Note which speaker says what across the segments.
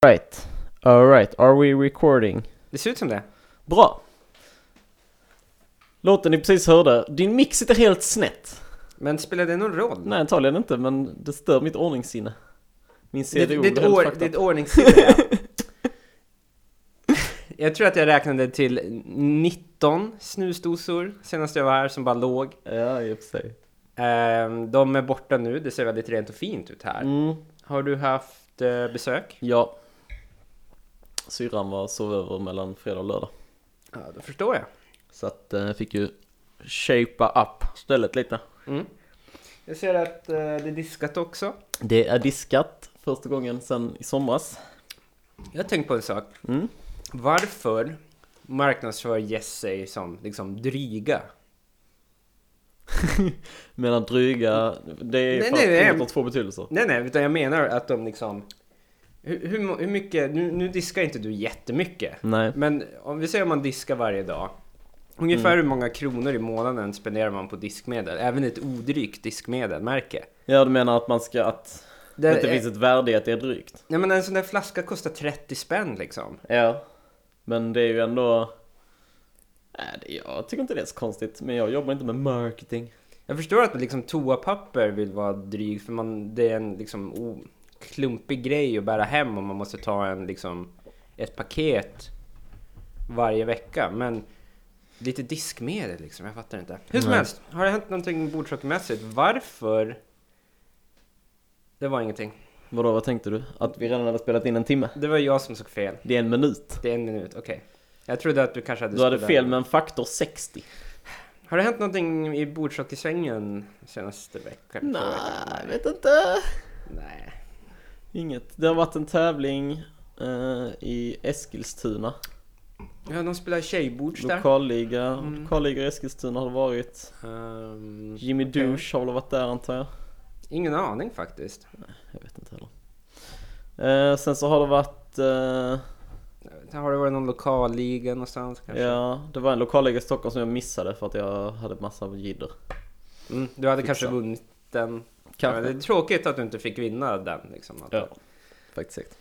Speaker 1: Alright. Alright. Are we recording?
Speaker 2: Det ser ut som det.
Speaker 1: Bra. Låten ni precis hörde. Din mix sitter helt snett.
Speaker 2: Men spelar det någon roll?
Speaker 1: Nej, antagligen inte, men det stör mitt ordningssinne. Min
Speaker 2: Det,
Speaker 1: CDO
Speaker 2: det,
Speaker 1: blir
Speaker 2: är ett
Speaker 1: helt
Speaker 2: or,
Speaker 1: fucked
Speaker 2: det är
Speaker 1: up.
Speaker 2: ett ordningssinne. ja. jag tror att jag räknade till 19 snusdosor senast jag var här som bara låg.
Speaker 1: Ja, i och för sig.
Speaker 2: Ehm, de är borta nu, det ser väldigt rent och fint ut här.
Speaker 1: Mm,
Speaker 2: Har du haft eh, besök?
Speaker 1: ja. Syrran var sov över mellan fredag och lördag.
Speaker 2: Ja, då förstår jag.
Speaker 1: Så att eh, jag fick ju shapea upp stället lite.
Speaker 2: Mm. Jag ser att eh, det är diskat också.
Speaker 1: Det är diskat första gången sedan i somras.
Speaker 2: Jag har tänkt på en sak.
Speaker 1: Mm.
Speaker 2: Varför marknadsför Yes sig som liksom dryga?
Speaker 1: Medan dryga, det är
Speaker 2: Nej,
Speaker 1: fan
Speaker 2: nej, nej.
Speaker 1: ordet har två betydelser.
Speaker 2: Nej, nej, utan jag menar att de liksom... Hur, hur, mo- hur mycket... Nu, nu diskar inte du jättemycket.
Speaker 1: Nej.
Speaker 2: Men om vi säger om man diskar varje dag. Ungefär hur många kronor i månaden spenderar man på diskmedel? Även ett odrygt diskmedelmärke.
Speaker 1: Ja, du menar att man ska, att det, inte
Speaker 2: eh,
Speaker 1: finns ett värde i att det är drygt?
Speaker 2: Nej men en sån där flaska kostar 30 spänn liksom.
Speaker 1: Ja. Men det är ju ändå... Nej, det, jag tycker inte det är så konstigt, men jag jobbar inte med marketing.
Speaker 2: Jag förstår att liksom toapapper vill vara dryg för man, det är en liksom o, klumpig grej att bära hem om man måste ta en liksom ett paket varje vecka. Men lite diskmedel liksom, jag fattar inte. Hur som
Speaker 1: Nej.
Speaker 2: helst, har det hänt någonting bordshockeymässigt? Varför? Det var ingenting.
Speaker 1: Vadå, vad tänkte du? Att vi redan hade spelat in en timme?
Speaker 2: Det var jag som såg fel.
Speaker 1: Det är en minut.
Speaker 2: Det är en minut, okej. Jag trodde att du kanske hade
Speaker 1: Du hade
Speaker 2: spelat-
Speaker 1: fel med en faktor 60.
Speaker 2: Har det hänt någonting i bordshockeysvängen senaste veckan?
Speaker 1: Nej, jag vet inte.
Speaker 2: Nej.
Speaker 1: Inget. Det har varit en tävling eh, i Eskilstuna.
Speaker 2: Ja, de spelar tjejbords där.
Speaker 1: Lokalliga.
Speaker 2: Mm.
Speaker 1: Lokalliga i Eskilstuna har det varit.
Speaker 2: Ehm,
Speaker 1: Jimmy
Speaker 2: okej.
Speaker 1: Douche har väl varit där antar jag.
Speaker 2: Ingen aning faktiskt.
Speaker 1: Jag vet inte heller. Eh, sen så har det varit... Eh,
Speaker 2: Har det varit någon lokalliga någonstans kanske?
Speaker 1: ja, det var en lokalliga i Stockholm som jag missade för att jag hade massa jidder.
Speaker 2: Mm, du hade
Speaker 1: Fixa.
Speaker 2: kanske vunnit den.
Speaker 1: Kanske.
Speaker 2: Ja, det är tråkigt att du inte fick vinna den. Liksom. Att-
Speaker 1: Ja, faktiskt.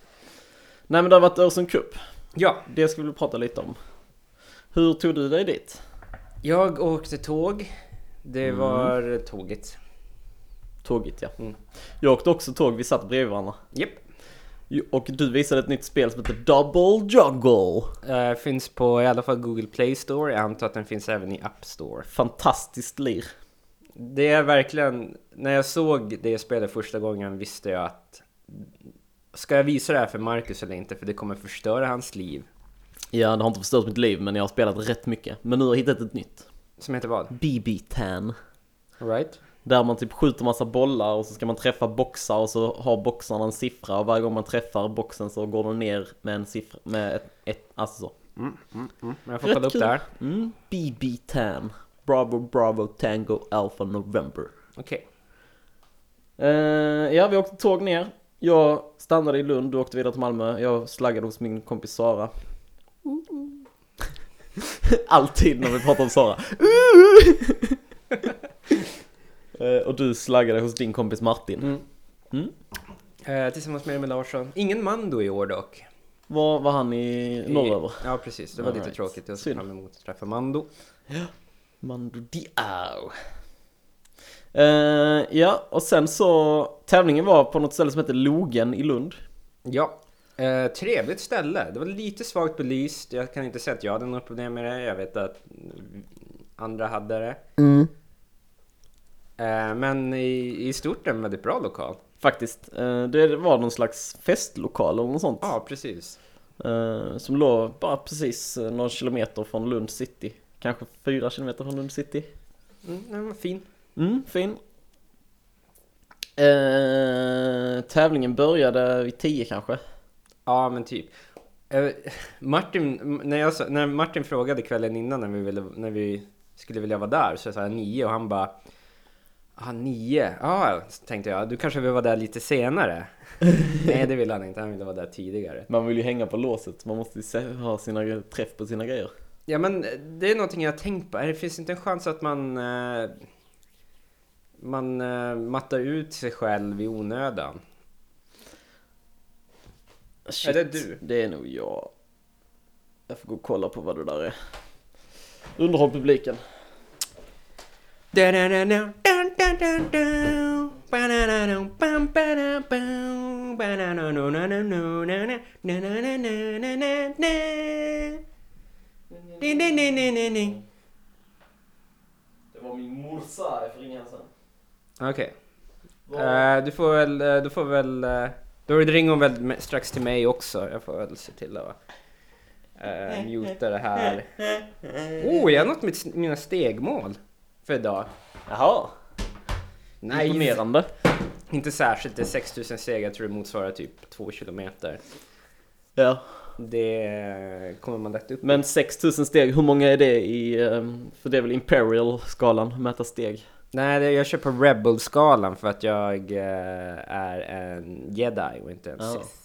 Speaker 1: Nej men det har varit Öresund Cup.
Speaker 2: ja,
Speaker 1: Det ska vi väl prata lite om. Hur tog du dig dit?
Speaker 2: jag åkte tåg. Det
Speaker 1: Mm.
Speaker 2: var tåget.
Speaker 1: Tåget ja.
Speaker 2: Mm.
Speaker 1: Jag åkte också tåg, vi satt bredvid varandra.
Speaker 2: Japp.
Speaker 1: Och du visade ett nytt spel som heter Double Juggle.
Speaker 2: Eh, finns på i alla fall Google Play Store. Jag antar att den finns även i App Store.
Speaker 1: Fantastiskt lir.
Speaker 2: Det är verkligen, när jag såg det spelet första gången visste jag att ska jag visa det här för Marcus eller inte? För det kommer förstöra hans liv.
Speaker 1: Ja, det har inte förstört mitt liv men jag har spelat rätt mycket. Men nu har jag hittat ett nytt.
Speaker 2: Som heter vad?
Speaker 1: BB-Tan.
Speaker 2: Right?
Speaker 1: Där man typ skjuter massa bollar och så ska man träffa boxar och så har boxarna en siffra och varje gång man träffar boxen så går den ner med en siffra, med ett, ett alltså så.
Speaker 2: Men jag får
Speaker 1: Rätt
Speaker 2: kolla upp
Speaker 1: kul.
Speaker 2: det här.
Speaker 1: Mm, BB Tan. Bravo Bravo Tango Alpha November.
Speaker 2: Okej.
Speaker 1: Eh, ja, vi åkte tåg ner. Jag stannade i Lund, du åkte vidare till Malmö. Jag slaggade hos min kompis Sara. Alltid när vi pratar om Sara. Eh, och du slaggade hos din kompis Martin. Mm.
Speaker 2: Eh, tillsammans med Emil Larsson. Ingen Mando i år dock.
Speaker 1: Var var han i norröver?
Speaker 2: Ja, precis. Det var lite
Speaker 1: Alright.
Speaker 2: tråkigt. Jag ser
Speaker 1: Synd.
Speaker 2: fram emot att träffa Mando.
Speaker 1: Mando Diao. Eh, ja, och sen så tävlingen var på något ställe som heter Logen i Lund.
Speaker 2: Ja. Eh, trevligt ställe. Det var lite svagt belyst. Jag kan inte säga att jag hade något problem med det. Jag vet att mm, andra hade det.
Speaker 1: Mm.
Speaker 2: Eh, men i, i stort en väldigt bra lokal.
Speaker 1: Faktiskt. Eh, det var någon slags festlokal eller något sånt.
Speaker 2: Ja, precis.
Speaker 1: Eh, som låg bara precis eh, någon kilometer från Lund city. Kanske fyra kilometer från Lund city.
Speaker 2: Mm, den var fin.
Speaker 1: Mm, fin. Eh, tävlingen började vid 10 kanske.
Speaker 2: Ja, men typ. Eh, Martin, m- när, jag, sa- när Martin frågade kvällen innan när vi, ville, när vi skulle vilja vara där så sa jag nio och han bara Ah, nio? Ja, så tänkte jag. Du kanske vill vara där lite senare? Nej, det ville han inte. Han ville vara där tidigare.
Speaker 1: Man vill ju hänga på låset, man måste ju se- ha sina gre- träff på sina grejer.
Speaker 2: Ja, men eh, det är någonting jag har tänkt på. Är Det finns inte en chans att man eh, man eh, mattar ut sig själv i onödan.
Speaker 1: Shit,
Speaker 2: det du?
Speaker 1: Det är nog jag. Jag får gå och kolla på vad det där är. Underhåll publiken.
Speaker 2: eh,
Speaker 1: Det var min morsa, jag får ringa henne sen.
Speaker 2: Okej. Eh, du får väl, eh, du får väl, eh, då ringer hon väl me- strax till mig också. Jag får väl se till att uh, muta det här. Oh, jag har nått mitt, mina stegmål för idag.
Speaker 1: Jaha,
Speaker 2: Nej,
Speaker 1: imponerande.
Speaker 2: inte särskilt. Det är 6000 steg, jag tror det motsvarar typ 2 kilometer.
Speaker 1: Ja.
Speaker 2: Det kommer man lätt upp
Speaker 1: Men 6000 steg, hur många är det i... ehm, För det är väl Imperial-skalan, mäta steg?
Speaker 2: Nej, det- jag kör på Rebel-skalan för att jag eh, är en jedi och inte en
Speaker 1: Ja.
Speaker 2: sith.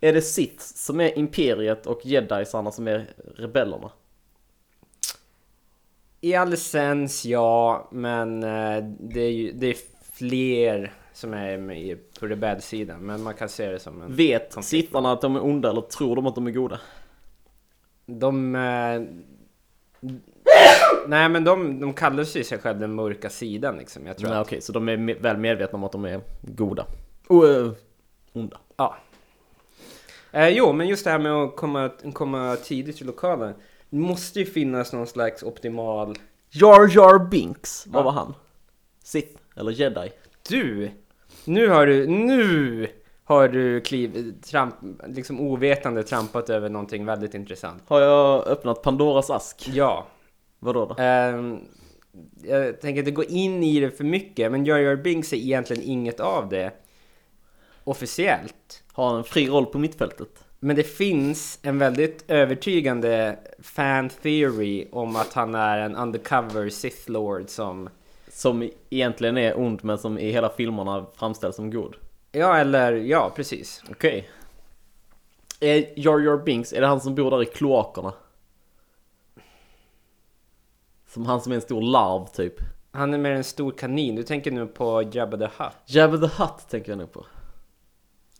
Speaker 1: Är det Sith som är Imperiet och Jedisarna som är rebellerna?
Speaker 2: I all essens ja, men eh, det är, ju, det är fler som är med i- på rebellsidan. Men man kan se det som en...
Speaker 1: Vet
Speaker 2: Konflikt.
Speaker 1: sittarna att de är onda eller tror de att de är goda?
Speaker 2: De... eh, Nej men de, de kallar sig sig själva den mörka sidan liksom. Jag tror
Speaker 1: Nej,
Speaker 2: att,
Speaker 1: okej, så de är me- väl medvetna om att de är goda. Och eh, onda.
Speaker 2: ja. Eh, jo, men just det här med att komma, komma tidigt till lokalen. Det måste ju finnas någon slags optimal...
Speaker 1: Jar Jar Binks, vad
Speaker 2: Ja.
Speaker 1: var han? Sith eller Jedi?
Speaker 2: Du! Nu har du, nu har du kliv, tramp, liksom ovetande trampat över någonting väldigt intressant.
Speaker 1: Har jag öppnat Pandoras ask?
Speaker 2: Ja,
Speaker 1: Vadå då?
Speaker 2: ehm, jag tänker inte gå in i det för mycket, men Jar Jar Binks är egentligen inget av det officiellt.
Speaker 1: Har han en fri roll på mittfältet?
Speaker 2: Men det finns en väldigt övertygande fan theory om att han är en undercover Sith Lord som,
Speaker 1: Som egentligen är ond men som i hela filmerna framställs som god.
Speaker 2: ja eller ja, precis.
Speaker 1: Okej. Är Eh, Jar Jar Binks, är det han som bor där i kloakerna? Som han som är en stor larv typ.
Speaker 2: Han är mer en stor kanin, du tänker nu på Jabba the Hutt.
Speaker 1: Jabba the Hutt tänker jag nu på.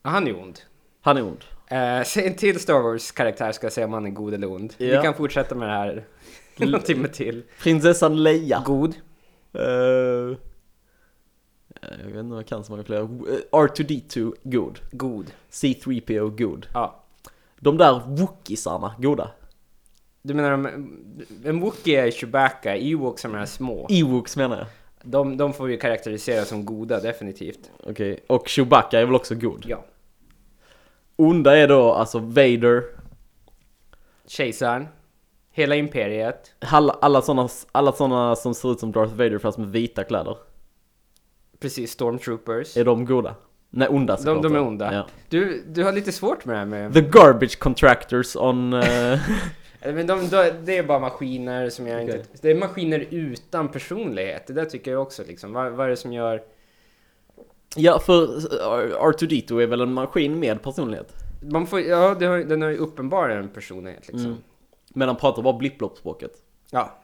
Speaker 2: Ah, Han är ond.
Speaker 1: Han är ond.
Speaker 2: Eh, säg en till Star Wars-karaktär ska jag säga om han är god eller ond.
Speaker 1: Ja.
Speaker 2: Vi kan fortsätta med det här någon timme till.
Speaker 1: Prinsessan Leia.
Speaker 2: God.
Speaker 1: Eh, jag vet inte vad jag kan så många fler. Eh, R2D2, god.
Speaker 2: God.
Speaker 1: C3PO, god.
Speaker 2: Ja.
Speaker 1: De där wookisarna, goda.
Speaker 2: Du menar, de- en wookie är Chewbacca, Ewoks som är små.
Speaker 1: Ewoks menar jag.
Speaker 2: De, de får vi karaktärisera som goda, definitivt.
Speaker 1: Okej, och Chewbacca är väl också god?
Speaker 2: Ja.
Speaker 1: Onda är då alltså Vader,
Speaker 2: Kejsaren. Hela imperiet.
Speaker 1: alla, alla sådana alla såna som ser ut som Darth Vader fast med vita kläder.
Speaker 2: Precis, Stormtroopers.
Speaker 1: Är de goda? Nej, onda
Speaker 2: De,
Speaker 1: såklart.
Speaker 2: de är
Speaker 1: ja.
Speaker 2: onda.
Speaker 1: Ja.
Speaker 2: Du, du har lite svårt med det här med...
Speaker 1: The Garbage Contractors on... eh,
Speaker 2: Eller, Men de, de, det är bara maskiner som jag inte...
Speaker 1: Okej.
Speaker 2: Det är maskiner utan personlighet. Det där tycker jag också liksom. Vad, vad är det som gör...
Speaker 1: ja, för eh, R2D2 är väl en maskin med personlighet?
Speaker 2: Man får, ja, det har, den har ju uppenbar en personlighet liksom.
Speaker 1: Mm. Men han pratar bara blipploppspråket.
Speaker 2: Ja.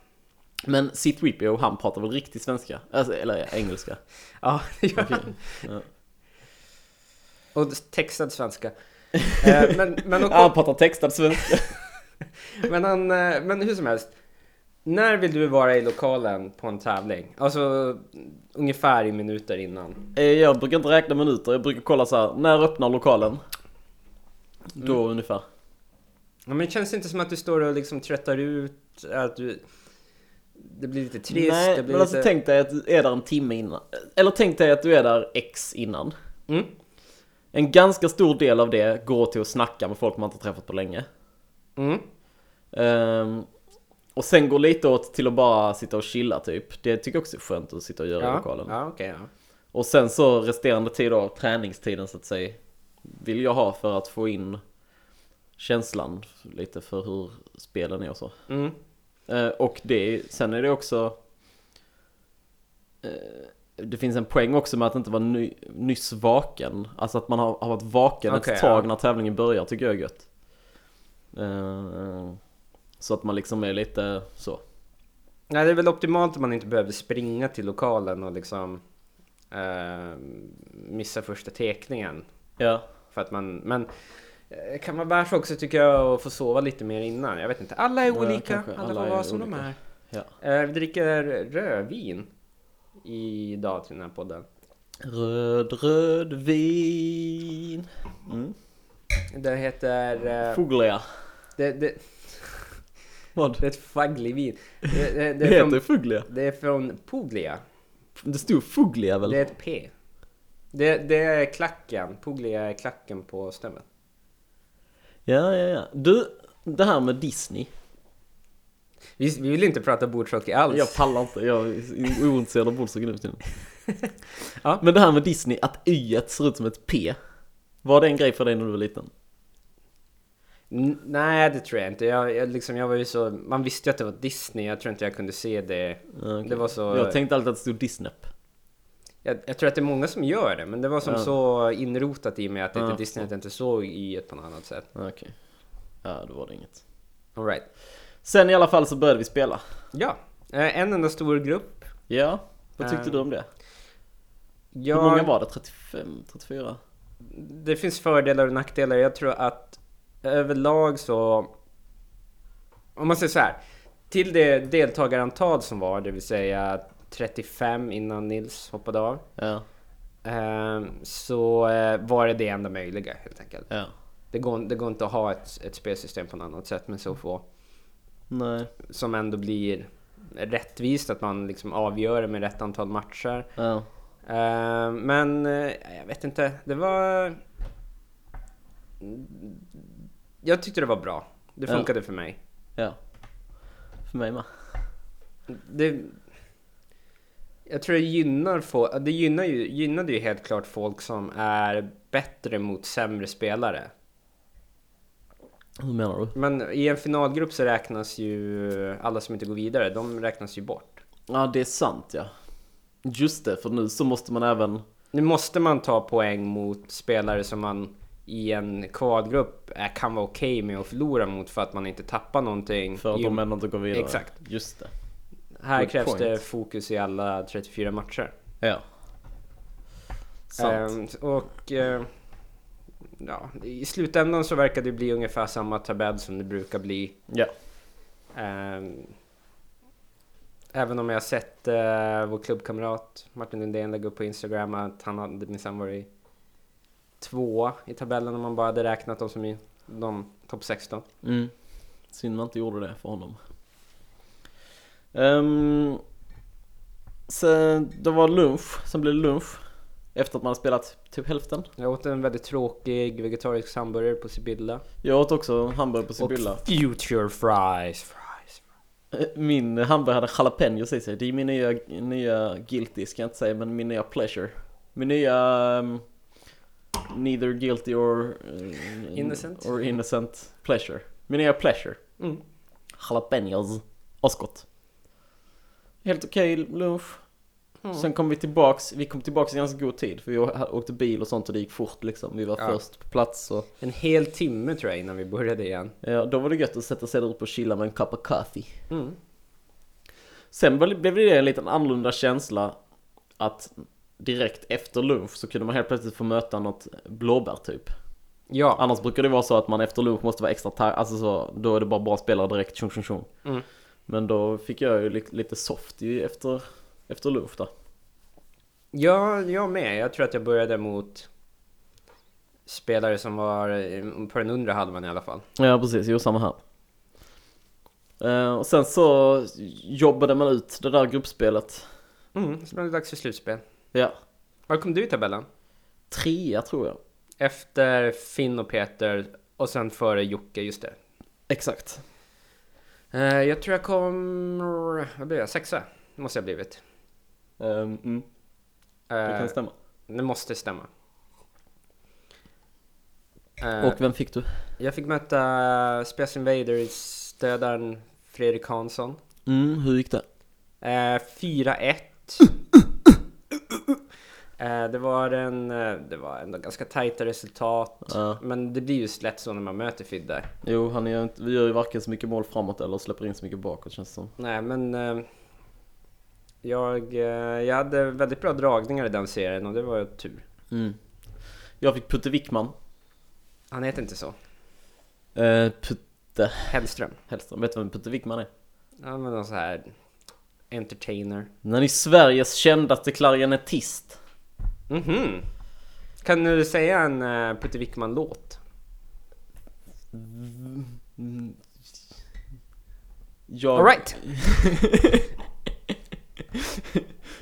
Speaker 1: Men C3PO, han pratar väl riktig svenska? Alltså, eller engelska?
Speaker 2: Ja, det gör
Speaker 1: Okej.
Speaker 2: han.
Speaker 1: Ja.
Speaker 2: Och textad svenska. Eh, men, men,
Speaker 1: Ja, han
Speaker 2: och,
Speaker 1: pratar textad svenska.
Speaker 2: men, han, eh, men hur som helst. När vill du vara i lokalen på en tävling? Alltså ungefär i minuter innan.
Speaker 1: Eh, jag brukar inte räkna minuter, jag brukar kolla så här, när öppnar lokalen?
Speaker 2: Mm.
Speaker 1: Då ungefär.
Speaker 2: Ja, men känns det inte som att du står och liksom tröttar ut? Att du, det blir lite trist?
Speaker 1: Nej,
Speaker 2: det blir
Speaker 1: men alltså
Speaker 2: lite...
Speaker 1: tänk dig att du är där en timme innan. Eller tänk dig att du är där X innan.
Speaker 2: Mm.
Speaker 1: En ganska stor del av det går till att snacka med folk man inte träffat på länge.
Speaker 2: Mm.
Speaker 1: Ehm, och sen går lite åt till att bara sitta och chilla typ. Det tycker jag också är skönt att sitta och göra i
Speaker 2: Ja,
Speaker 1: lokalen.
Speaker 2: ja okej. ja.
Speaker 1: Och sen så resterande tid då, träningstiden så att säga, vill jag ha för att få in känslan lite för hur spelen är och så.
Speaker 2: Mm.
Speaker 1: Eh, och det, sen är det också... eh, det finns en poäng också med att inte vara ny, nyss vaken. Alltså att man har, har varit vaken
Speaker 2: Okej,
Speaker 1: ett tag
Speaker 2: ja.
Speaker 1: när tävlingen börjar tycker jag är gött. Eh, så att man liksom är lite så.
Speaker 2: Nej, det är väl optimalt om man inte behöver springa till lokalen och liksom eh, missa första teckningen.
Speaker 1: Ja.
Speaker 2: För att man, men eh, kan vara värt också tycker jag att få sova lite mer innan. Jag vet inte. Alla är
Speaker 1: Ja,
Speaker 2: olika.
Speaker 1: kanske.
Speaker 2: alla,
Speaker 1: Alla
Speaker 2: får
Speaker 1: är
Speaker 2: vara som
Speaker 1: olika.
Speaker 2: de är.
Speaker 1: Ja.
Speaker 2: Eh, vi dricker rödvin idag till den här podden.
Speaker 1: Röd, röd vin. Mm.
Speaker 2: Det heter... Eh,
Speaker 1: Fuglia.
Speaker 2: det, det,
Speaker 1: Vad?
Speaker 2: det är ett fugglivin. Det, det,
Speaker 1: Det
Speaker 2: det, är
Speaker 1: heter
Speaker 2: från,
Speaker 1: Fuglia.
Speaker 2: det är från Puglia.
Speaker 1: Det stod Fuglia väl?
Speaker 2: Det är ett P. Det, det är klacken. Puglia är klacken på stöveln.
Speaker 1: Ja, ja, ja. Du, det här med Disney.
Speaker 2: Vi, vi vill inte prata bordshockey alls.
Speaker 1: Jag pallar inte, jag är ointresserad av Bolsock nu för tiden.
Speaker 2: Ja.
Speaker 1: Men det här med Disney, att y ser ut som ett p. Var det en grej för dig när du var liten?
Speaker 2: N- Nej, det tror jag inte. Jag, jag, liksom, jag var ju så, man visste ju att det var Disney. Jag tror inte jag kunde se det.
Speaker 1: Ja, Ah, okej.
Speaker 2: Det var så...
Speaker 1: Jag tänkte alltid att det stod Disnep.
Speaker 2: jag, jag tror att det är många som gör det, men det var som
Speaker 1: Ja.
Speaker 2: så inrotat i mig att det inte
Speaker 1: Ja.
Speaker 2: Disney, att jag inte såg i ett på något annat sätt.
Speaker 1: Ja, Okej. Ja, då var det inget.
Speaker 2: All right.
Speaker 1: Sen i alla fall så började vi spela.
Speaker 2: Ja, eh, en enda stor grupp.
Speaker 1: Ja, vad tyckte
Speaker 2: Ehm,
Speaker 1: du om det? Hur
Speaker 2: Jag,
Speaker 1: många var det? 35? 34?
Speaker 2: Det finns fördelar och nackdelar. Jag tror att överlag så... Om man säger så här. Till det deltagarantal som var, det vill säga 35 innan Nils hoppade av.
Speaker 1: Ja,
Speaker 2: eh, Så eh, var det det enda möjliga helt enkelt.
Speaker 1: ja.
Speaker 2: Det går, det går inte att ha ett, ett spelsystem på något annat sätt med så få.
Speaker 1: Nej,
Speaker 2: som ändå blir rättvist, att man liksom avgör det med rätt antal matcher.
Speaker 1: ja.
Speaker 2: Eh, men eh, jag vet inte, det var... Jag tyckte det var bra. Det
Speaker 1: Ja.
Speaker 2: funkade för mig.
Speaker 1: ja. För mig med.
Speaker 2: Det... Jag tror det gynnar få... Det gynnar ju, gynnade ju helt klart folk som är bättre mot sämre spelare.
Speaker 1: Hur menar du?
Speaker 2: Men i en finalgrupp så räknas ju alla som inte går vidare, de räknas ju bort.
Speaker 1: Ja, det är sant ja. Just det, för nu så måste man även...
Speaker 2: Nu måste man ta poäng mot spelare som man i en kvalgrupp är- kan vara okej med att förlora mot för att man inte tappar någonting.
Speaker 1: För att
Speaker 2: I-
Speaker 1: de ändå inte går vidare.
Speaker 2: Mm. Exakt.
Speaker 1: Just det.
Speaker 2: Här
Speaker 1: Good
Speaker 2: krävs
Speaker 1: point.
Speaker 2: det fokus i alla 34 matcher.
Speaker 1: Ja. Sant.
Speaker 2: Ehm, och eh, ja, i slutändan så verkar det bli ungefär samma tabell som det brukar bli.
Speaker 1: ja.
Speaker 2: Ehm, även om jag har sett eh, vår klubbkamrat Martin Lundén lägga upp på Instagram att han hade minsann varit tvåa i tabellen om man bara hade räknat dem som i de topp 16.
Speaker 1: Mm. Synd man inte gjorde det för honom. Um, sen, det var lunch, sen blev det lunch. Efter att man hade spelat typ hälften.
Speaker 2: Jag åt en väldigt tråkig vegetarisk hamburgare på Sibylla.
Speaker 1: Jag åt också hamburgare på Sibylla.
Speaker 2: Och future fries. fries.
Speaker 1: Eh, Min hamburgare hade jalapenos i sig. Det är min nya, nya guilty, ska jag inte säga, men min nya pleasure. Min nya... ehm, neither guilty or... eh,
Speaker 2: Innocent.
Speaker 1: Or innocent pleasure. Min nya pleasure.
Speaker 2: Mm.
Speaker 1: Jalapenos. Asgott. Helt okej lunch.
Speaker 2: Mm.
Speaker 1: Sen kom vi tillbaks, vi kom tillbaks i ganska god tid för vi å- åkte bil och sånt och det gick fort liksom. Vi var
Speaker 2: Ja.
Speaker 1: först på plats och
Speaker 2: En hel timme tror jag innan vi började igen.
Speaker 1: ja, då var det gött att sätta sig där uppe och chilla med en kopp of coffee.
Speaker 2: Mm.
Speaker 1: Sen var- blev det en liten annorlunda känsla att direkt efter lunch så kunde man helt plötsligt få möta något blåbär typ.
Speaker 2: Ja,
Speaker 1: Annars brukar det vara så att man efter lunch måste vara extra tar- alltså så, då är det bara bra spelare direkt, tjong tjong tjong.
Speaker 2: Mm.
Speaker 1: Men då fick jag ju li- lite soft ju efter, efter lunch där.
Speaker 2: jag, jag med. Jag tror att jag började mot spelare som var eh, på den undre halvan i alla fall.
Speaker 1: Ja precis, jo samma här. Eh, och sen så jobbade man ut det där gruppspelet.
Speaker 2: Mm, så blev det dags för slutspel.
Speaker 1: Ja,
Speaker 2: Var kom du i tabellen?
Speaker 1: trea tror jag.
Speaker 2: Efter Finn och Peter och sen före Jocke, just det.
Speaker 1: Exakt.
Speaker 2: Eh, jag tror jag kom... Vad blev jag? Sexa? Måste jag ha blivit.
Speaker 1: Ehm, mm, det
Speaker 2: Eh,
Speaker 1: kan stämma.
Speaker 2: det måste stämma. Eh,
Speaker 1: Och vem fick du?
Speaker 2: Jag fick möta Space Invaders-dödaren Fredrik Hansson.
Speaker 1: Mm, hur gick det?
Speaker 2: Eh, 4-1. Eh, det var en... eh, Det var ändå ganska tajta resultat.
Speaker 1: Ja.
Speaker 2: Men det blir ju lätt så när man möter Fidde.
Speaker 1: Jo, han gör inte, vi gör ju varken så mycket mål framåt eller släpper in så mycket bakåt känns det som.
Speaker 2: Nej, men... eh, Jag, eh, jag hade väldigt bra
Speaker 1: Mm.
Speaker 2: dragningar i den serien och det var ju tur.
Speaker 1: Jag fick Putte Wickman.
Speaker 2: Han heter inte så.
Speaker 1: Eh, Putte
Speaker 2: Hellström.
Speaker 1: Hellström, vet du vem Putte Wickman är?
Speaker 2: Ja, men någon så här entertainer.
Speaker 1: Han är Sveriges kändaste klarinettist.
Speaker 2: Mhm. Kan du säga en uh, Putte Wickman-låt?
Speaker 1: Mm. Jag...
Speaker 2: Alright!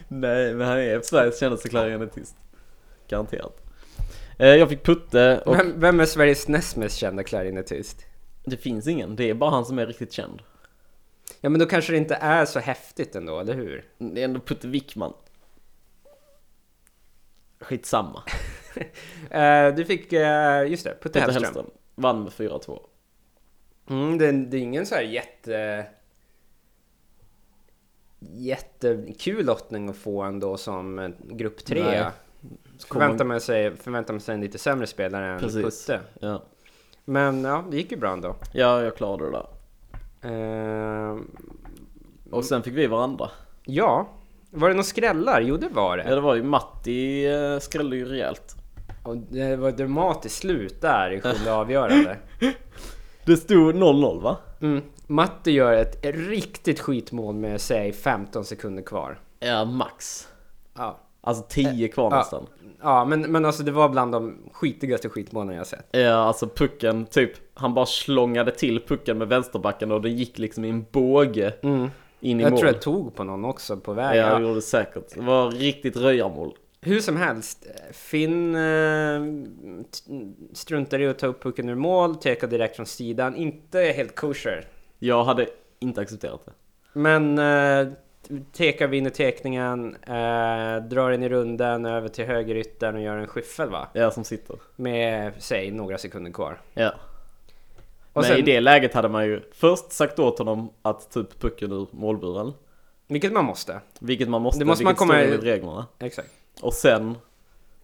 Speaker 1: Nej, men han är Sveriges kändaste klarinettist. Garanterat. Eh, jag fick Putte och
Speaker 2: Vem, vem är Sveriges näst mest kända klarinettist?
Speaker 1: det finns ingen. Det är bara han som är riktigt känd.
Speaker 2: Ja, men då kanske det inte är så häftigt ändå, eller hur?
Speaker 1: Det är ändå Putte Wickman. Skitsamma.
Speaker 2: Eh, du fick, eh, just det, Putte
Speaker 1: Putte
Speaker 2: Hellström.
Speaker 1: Hellström vann med 4-2.
Speaker 2: Mm, det, det är ingen så här jätte... Jättekul lottning att få ändå som eh, grupp
Speaker 1: Nej.
Speaker 2: tre. Förväntar man sig, förväntar man sig en lite sämre spelare än
Speaker 1: Precis.
Speaker 2: Putte.
Speaker 1: Ja.
Speaker 2: Men ja, det gick ju bra ändå.
Speaker 1: ja, jag klarade det där.
Speaker 2: Eh,
Speaker 1: Och sen fick vi varandra.
Speaker 2: ja, var det några skrällar? Jo, det var det.
Speaker 1: Ja, det var ju Matti eh, skrällde ju rejält.
Speaker 2: Och det var ett dramatiskt slut där i sjunde avgörande.
Speaker 1: Det stod 0-0 va?
Speaker 2: Mm. Matte gör ett riktigt skitmål med, säg, 15 sekunder kvar.
Speaker 1: Ja, max.
Speaker 2: Ja,
Speaker 1: Alltså 10 kvar
Speaker 2: ja.
Speaker 1: nästan.
Speaker 2: ja men, men alltså det var bland de skitigaste skitmålen jag sett.
Speaker 1: Ja, alltså pucken, typ, han bara slångade till pucken med vänsterbacken och den gick liksom i en båge in i
Speaker 2: Mm. Jag
Speaker 1: mål.
Speaker 2: tror jag tog på någon också på
Speaker 1: Mm. ja,
Speaker 2: vägen.
Speaker 1: jag
Speaker 2: Ja.
Speaker 1: gjorde det säkert. Det var riktigt röjarmål.
Speaker 2: Hur som helst, Finn eh, t- struntade i att ta upp pucken ur mål, tekade direkt från sidan. Inte helt kosher.
Speaker 1: Jag hade inte accepterat det.
Speaker 2: Men eh, Teka vinner tekningen, eh, drar in i runden över till högeryttern och gör en skyffel va?
Speaker 1: Ja, som sitter.
Speaker 2: Med, säg, några sekunder kvar.
Speaker 1: Ja.
Speaker 2: Och
Speaker 1: Men
Speaker 2: sen-
Speaker 1: i det läget hade man ju först sagt åt honom att ta upp pucken ur målburen.
Speaker 2: Vilket man måste.
Speaker 1: Vilket man måste,
Speaker 2: Det måste man
Speaker 1: vilket
Speaker 2: komma-
Speaker 1: står enligt reglerna.
Speaker 2: Exakt.
Speaker 1: Och sen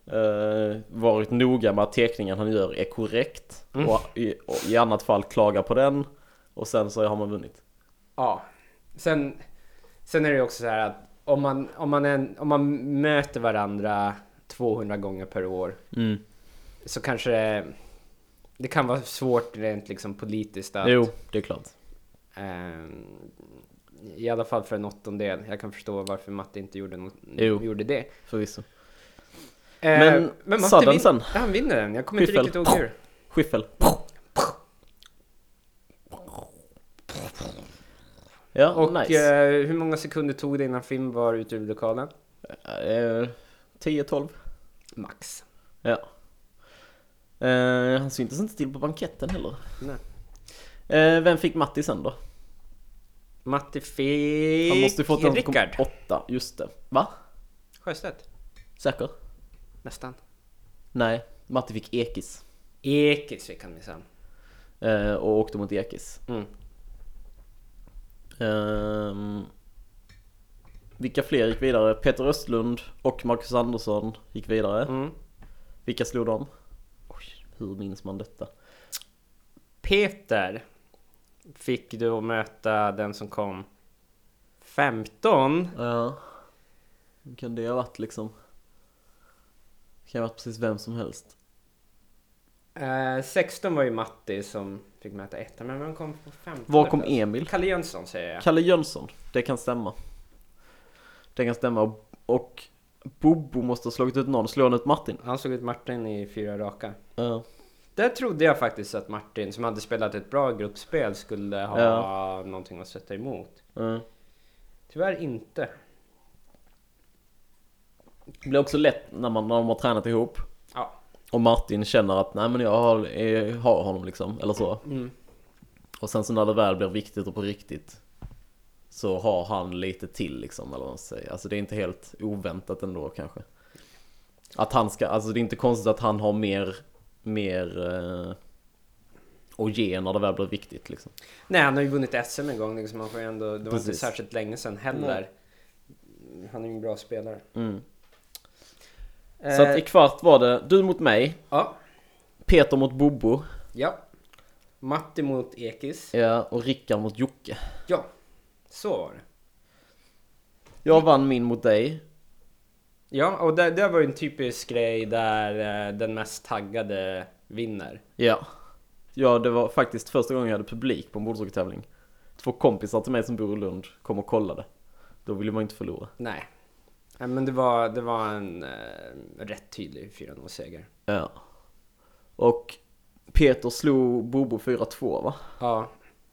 Speaker 1: eh, varit noga med att teckningen han gör är korrekt.
Speaker 2: Mm.
Speaker 1: Och, i, och i annat fall klaga på den. Och sen så har man vunnit.
Speaker 2: Ja. Sen, sen är det ju också så här att om man, om, man är, en- om man möter varandra 200 gånger per år så kanske det, det kan vara svårt rent liksom politiskt att...
Speaker 1: Jo, det är klart.
Speaker 2: ehm, I alla fall för en åttondel. Jag kan förstå varför Matte inte gjorde, något,
Speaker 1: Jo.
Speaker 2: gjorde det.
Speaker 1: Förvisso. Men
Speaker 2: men men Matte
Speaker 1: Sudden
Speaker 2: vin-
Speaker 1: sen?
Speaker 2: Han vinner den. Jag kommer inte
Speaker 1: Skyffel.
Speaker 2: riktigt ihåg hur.
Speaker 1: Skyffel. Ja,
Speaker 2: Och
Speaker 1: nice.
Speaker 2: eh, hur många sekunder tog det innan Finn var ute ur lokalen?
Speaker 1: Eh, 10-12.
Speaker 2: Max.
Speaker 1: Ja. Eh, han syntes inte till på banketten heller.
Speaker 2: Nej.
Speaker 1: Eh, vem fick Matti sen då?
Speaker 2: Matti fick...
Speaker 1: Han måste ju fått den som kom
Speaker 2: Rickard.
Speaker 1: åtta, just det. Va?
Speaker 2: Sjöstedt.
Speaker 1: Säker?
Speaker 2: Nästan.
Speaker 1: Nej, Matti fick Ekis.
Speaker 2: Ekis fick han minsann.
Speaker 1: Eh, och åkte mot Ekis. Ehm, vilka fler gick vidare? Peter Östlund och Marcus Andersson gick vidare.
Speaker 2: Mm.
Speaker 1: Vilka slog de? Oj, hur minns man detta?
Speaker 2: Peter fick då möta den som kom 15.
Speaker 1: Ja. Vem kan det ha varit liksom? Det kan ha varit precis vem som helst.
Speaker 2: Eh, 16 var ju Matti som fick möta ettan, men vem kom på 15?
Speaker 1: Var kom Emil?
Speaker 2: Kalle Jönsson säger jag.
Speaker 1: Kalle Jönsson, det kan stämma. Det kan stämma. Och- Och Bobo måste ha slagit ut någon. Slår han ut Martin?
Speaker 2: Han slog ut Martin i fyra raka.
Speaker 1: Ja.
Speaker 2: Där trodde jag faktiskt att Martin, som hade spelat ett bra gruppspel, skulle ha någonting att sätta emot.
Speaker 1: ja.
Speaker 2: Tyvärr inte.
Speaker 1: Det blir också lätt när man, när man har tränat ihop.
Speaker 2: Ja.
Speaker 1: Och Martin känner att nej men jag har, jag har honom liksom, eller så.
Speaker 2: Mm.
Speaker 1: Och sen så när det väl blir viktigt och på riktigt så har han lite till liksom, eller vad man säger. Alltså det är inte helt oväntat ändå kanske. Att han ska, alltså det är inte konstigt att han har mer, mer eh, att ge när det väl blir viktigt liksom.
Speaker 2: Nej, han har ju vunnit SM en gång, liksom, han får ju ändå, det var inte
Speaker 1: Precis.
Speaker 2: särskilt länge sedan heller. Han är ju en bra spelare.
Speaker 1: Mm.
Speaker 2: Eh,
Speaker 1: Så att i kvart var det du mot mig,
Speaker 2: ja,
Speaker 1: Peter mot Bobo,
Speaker 2: ja. Matti mot Ekis.
Speaker 1: ja, och Rickard mot Jocke.
Speaker 2: Ja, så var det.
Speaker 1: Jag vann min mot dig,
Speaker 2: Ja, och det, det var ju en typisk grej där eh, den mest taggade vinner.
Speaker 1: Ja. Ja, det var faktiskt första gången jag hade publik på en bordshockeytävling. Två kompisar till mig som bor i Lund kom och kollade. Då ville man inte förlora.
Speaker 2: Nej. Nej, men det var, det var en eh, rätt tydlig 4-0-seger.
Speaker 1: Ja. Och Peter slog Bobo 4-2 va?
Speaker 2: Ja,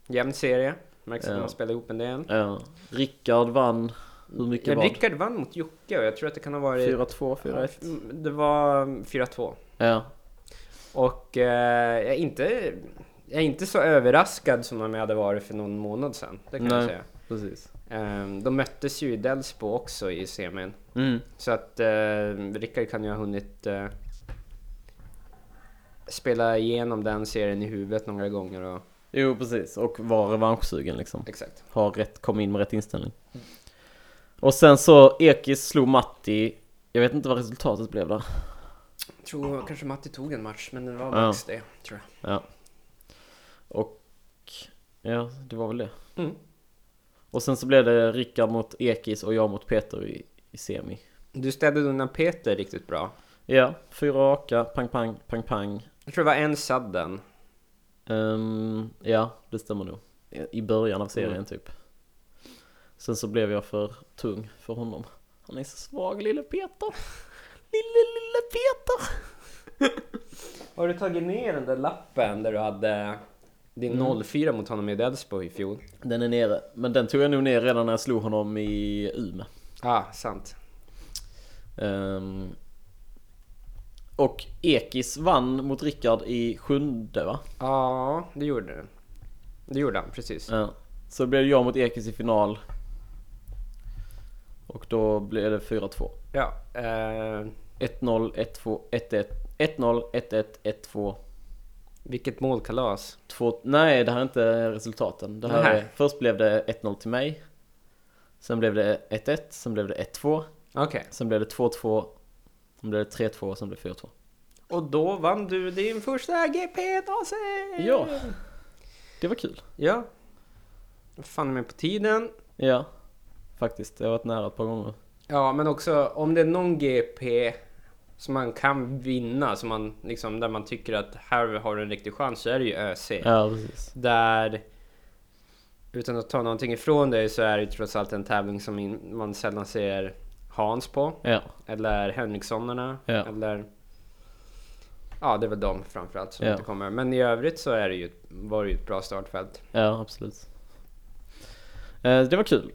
Speaker 2: jämn serie. Märks att
Speaker 1: Ja.
Speaker 2: man spelar ihop en del.
Speaker 1: Ja. Rickard vann, hur mycket
Speaker 2: Ja,
Speaker 1: var det?
Speaker 2: Rickard vann mot Jocke och jag tror att det kan ha varit...
Speaker 1: 4-2, 4-1.
Speaker 2: Mm, Det var 4-2.
Speaker 1: Ja.
Speaker 2: Och eh, jag, är inte, jag är inte så överraskad som om jag hade varit för någon månad sedan. Det kan jag
Speaker 1: Nej.
Speaker 2: säga.
Speaker 1: Precis.
Speaker 2: Ehm, de möttes ju i Delsbo också i semin.
Speaker 1: Mm.
Speaker 2: Så att eh, Rickard kan ju ha hunnit eh, spela igenom den serien i huvudet några gånger. Och,
Speaker 1: Jo, precis. Och var revanschsugen liksom.
Speaker 2: exakt.
Speaker 1: Har rätt, kom in med rätt inställning. Och sen så Ekis slog Matti. Jag vet inte vad resultatet blev där.
Speaker 2: Jag tror kanske Matti tog en match, men det var
Speaker 1: Ja.
Speaker 2: max det, tror jag.
Speaker 1: Ja. Och ja, det var väl det.
Speaker 2: Mm.
Speaker 1: Och sen så blev det Rickard mot Ekis och jag mot Peter i, i semi.
Speaker 2: Du städade undan Peter riktigt bra.
Speaker 1: Ja, fyra raka, pang pang, pang pang.
Speaker 2: Jag tror det var en sadden.
Speaker 1: Ehm, ja, det stämmer nog. I början av serien
Speaker 2: Mm.
Speaker 1: typ. Sen så blev jag för tung för honom. Han är så svag lille Peter. Lille, lille Peter.
Speaker 2: Har du tagit ner den där lappen där du hade din 04 mot honom i Delsbo i fjol?
Speaker 1: Den är nere, men den tog jag nog ner redan när jag slog honom i Umeå.
Speaker 2: Ja, ah, sant.
Speaker 1: Ehm, och Ekis vann mot Rickard i sjunde va?
Speaker 2: Ja, det gjorde du. Det gjorde han, precis.
Speaker 1: Ja. Så blev det jag mot Ekis i final. Och då blev det 4-2.
Speaker 2: Ja, eh,
Speaker 1: 1-0, 1-2, 1-1, 1-0, 1-1, 1-2,
Speaker 2: vilket målkalas.
Speaker 1: 2 Nej, det här är inte resultaten. Det här
Speaker 2: Nej.
Speaker 1: är, först blev det 1-0 till mig. Sen blev det 1-1, sen blev det 1-2,
Speaker 2: Okej.
Speaker 1: sen blev det 2-2, sen blev det 3-2 och sen blev det 4-2.
Speaker 2: Och då vann du din första gp -dase!
Speaker 1: Ja. Det var kul.
Speaker 2: Ja. Fan med på tiden.
Speaker 1: Ja, faktiskt. Jag har varit nära ett par gånger.
Speaker 2: Ja, men också om det är någon GP som man kan vinna, som man, liksom, där man tycker att här har du en riktig chans, så är det ju ÖC.
Speaker 1: Ja, precis.
Speaker 2: Där, utan att ta någonting ifrån dig, så är det ju trots allt en tävling som in, man sällan ser Hans på.
Speaker 1: Ja,
Speaker 2: Eller Henrikssonarna.
Speaker 1: Ja.
Speaker 2: Eller... Ja, det är väl de framförallt som
Speaker 1: Ja.
Speaker 2: inte kommer. Men i övrigt så är det ju, var det ju ett bra startfält.
Speaker 1: ja absolut. Eh, Det var kul.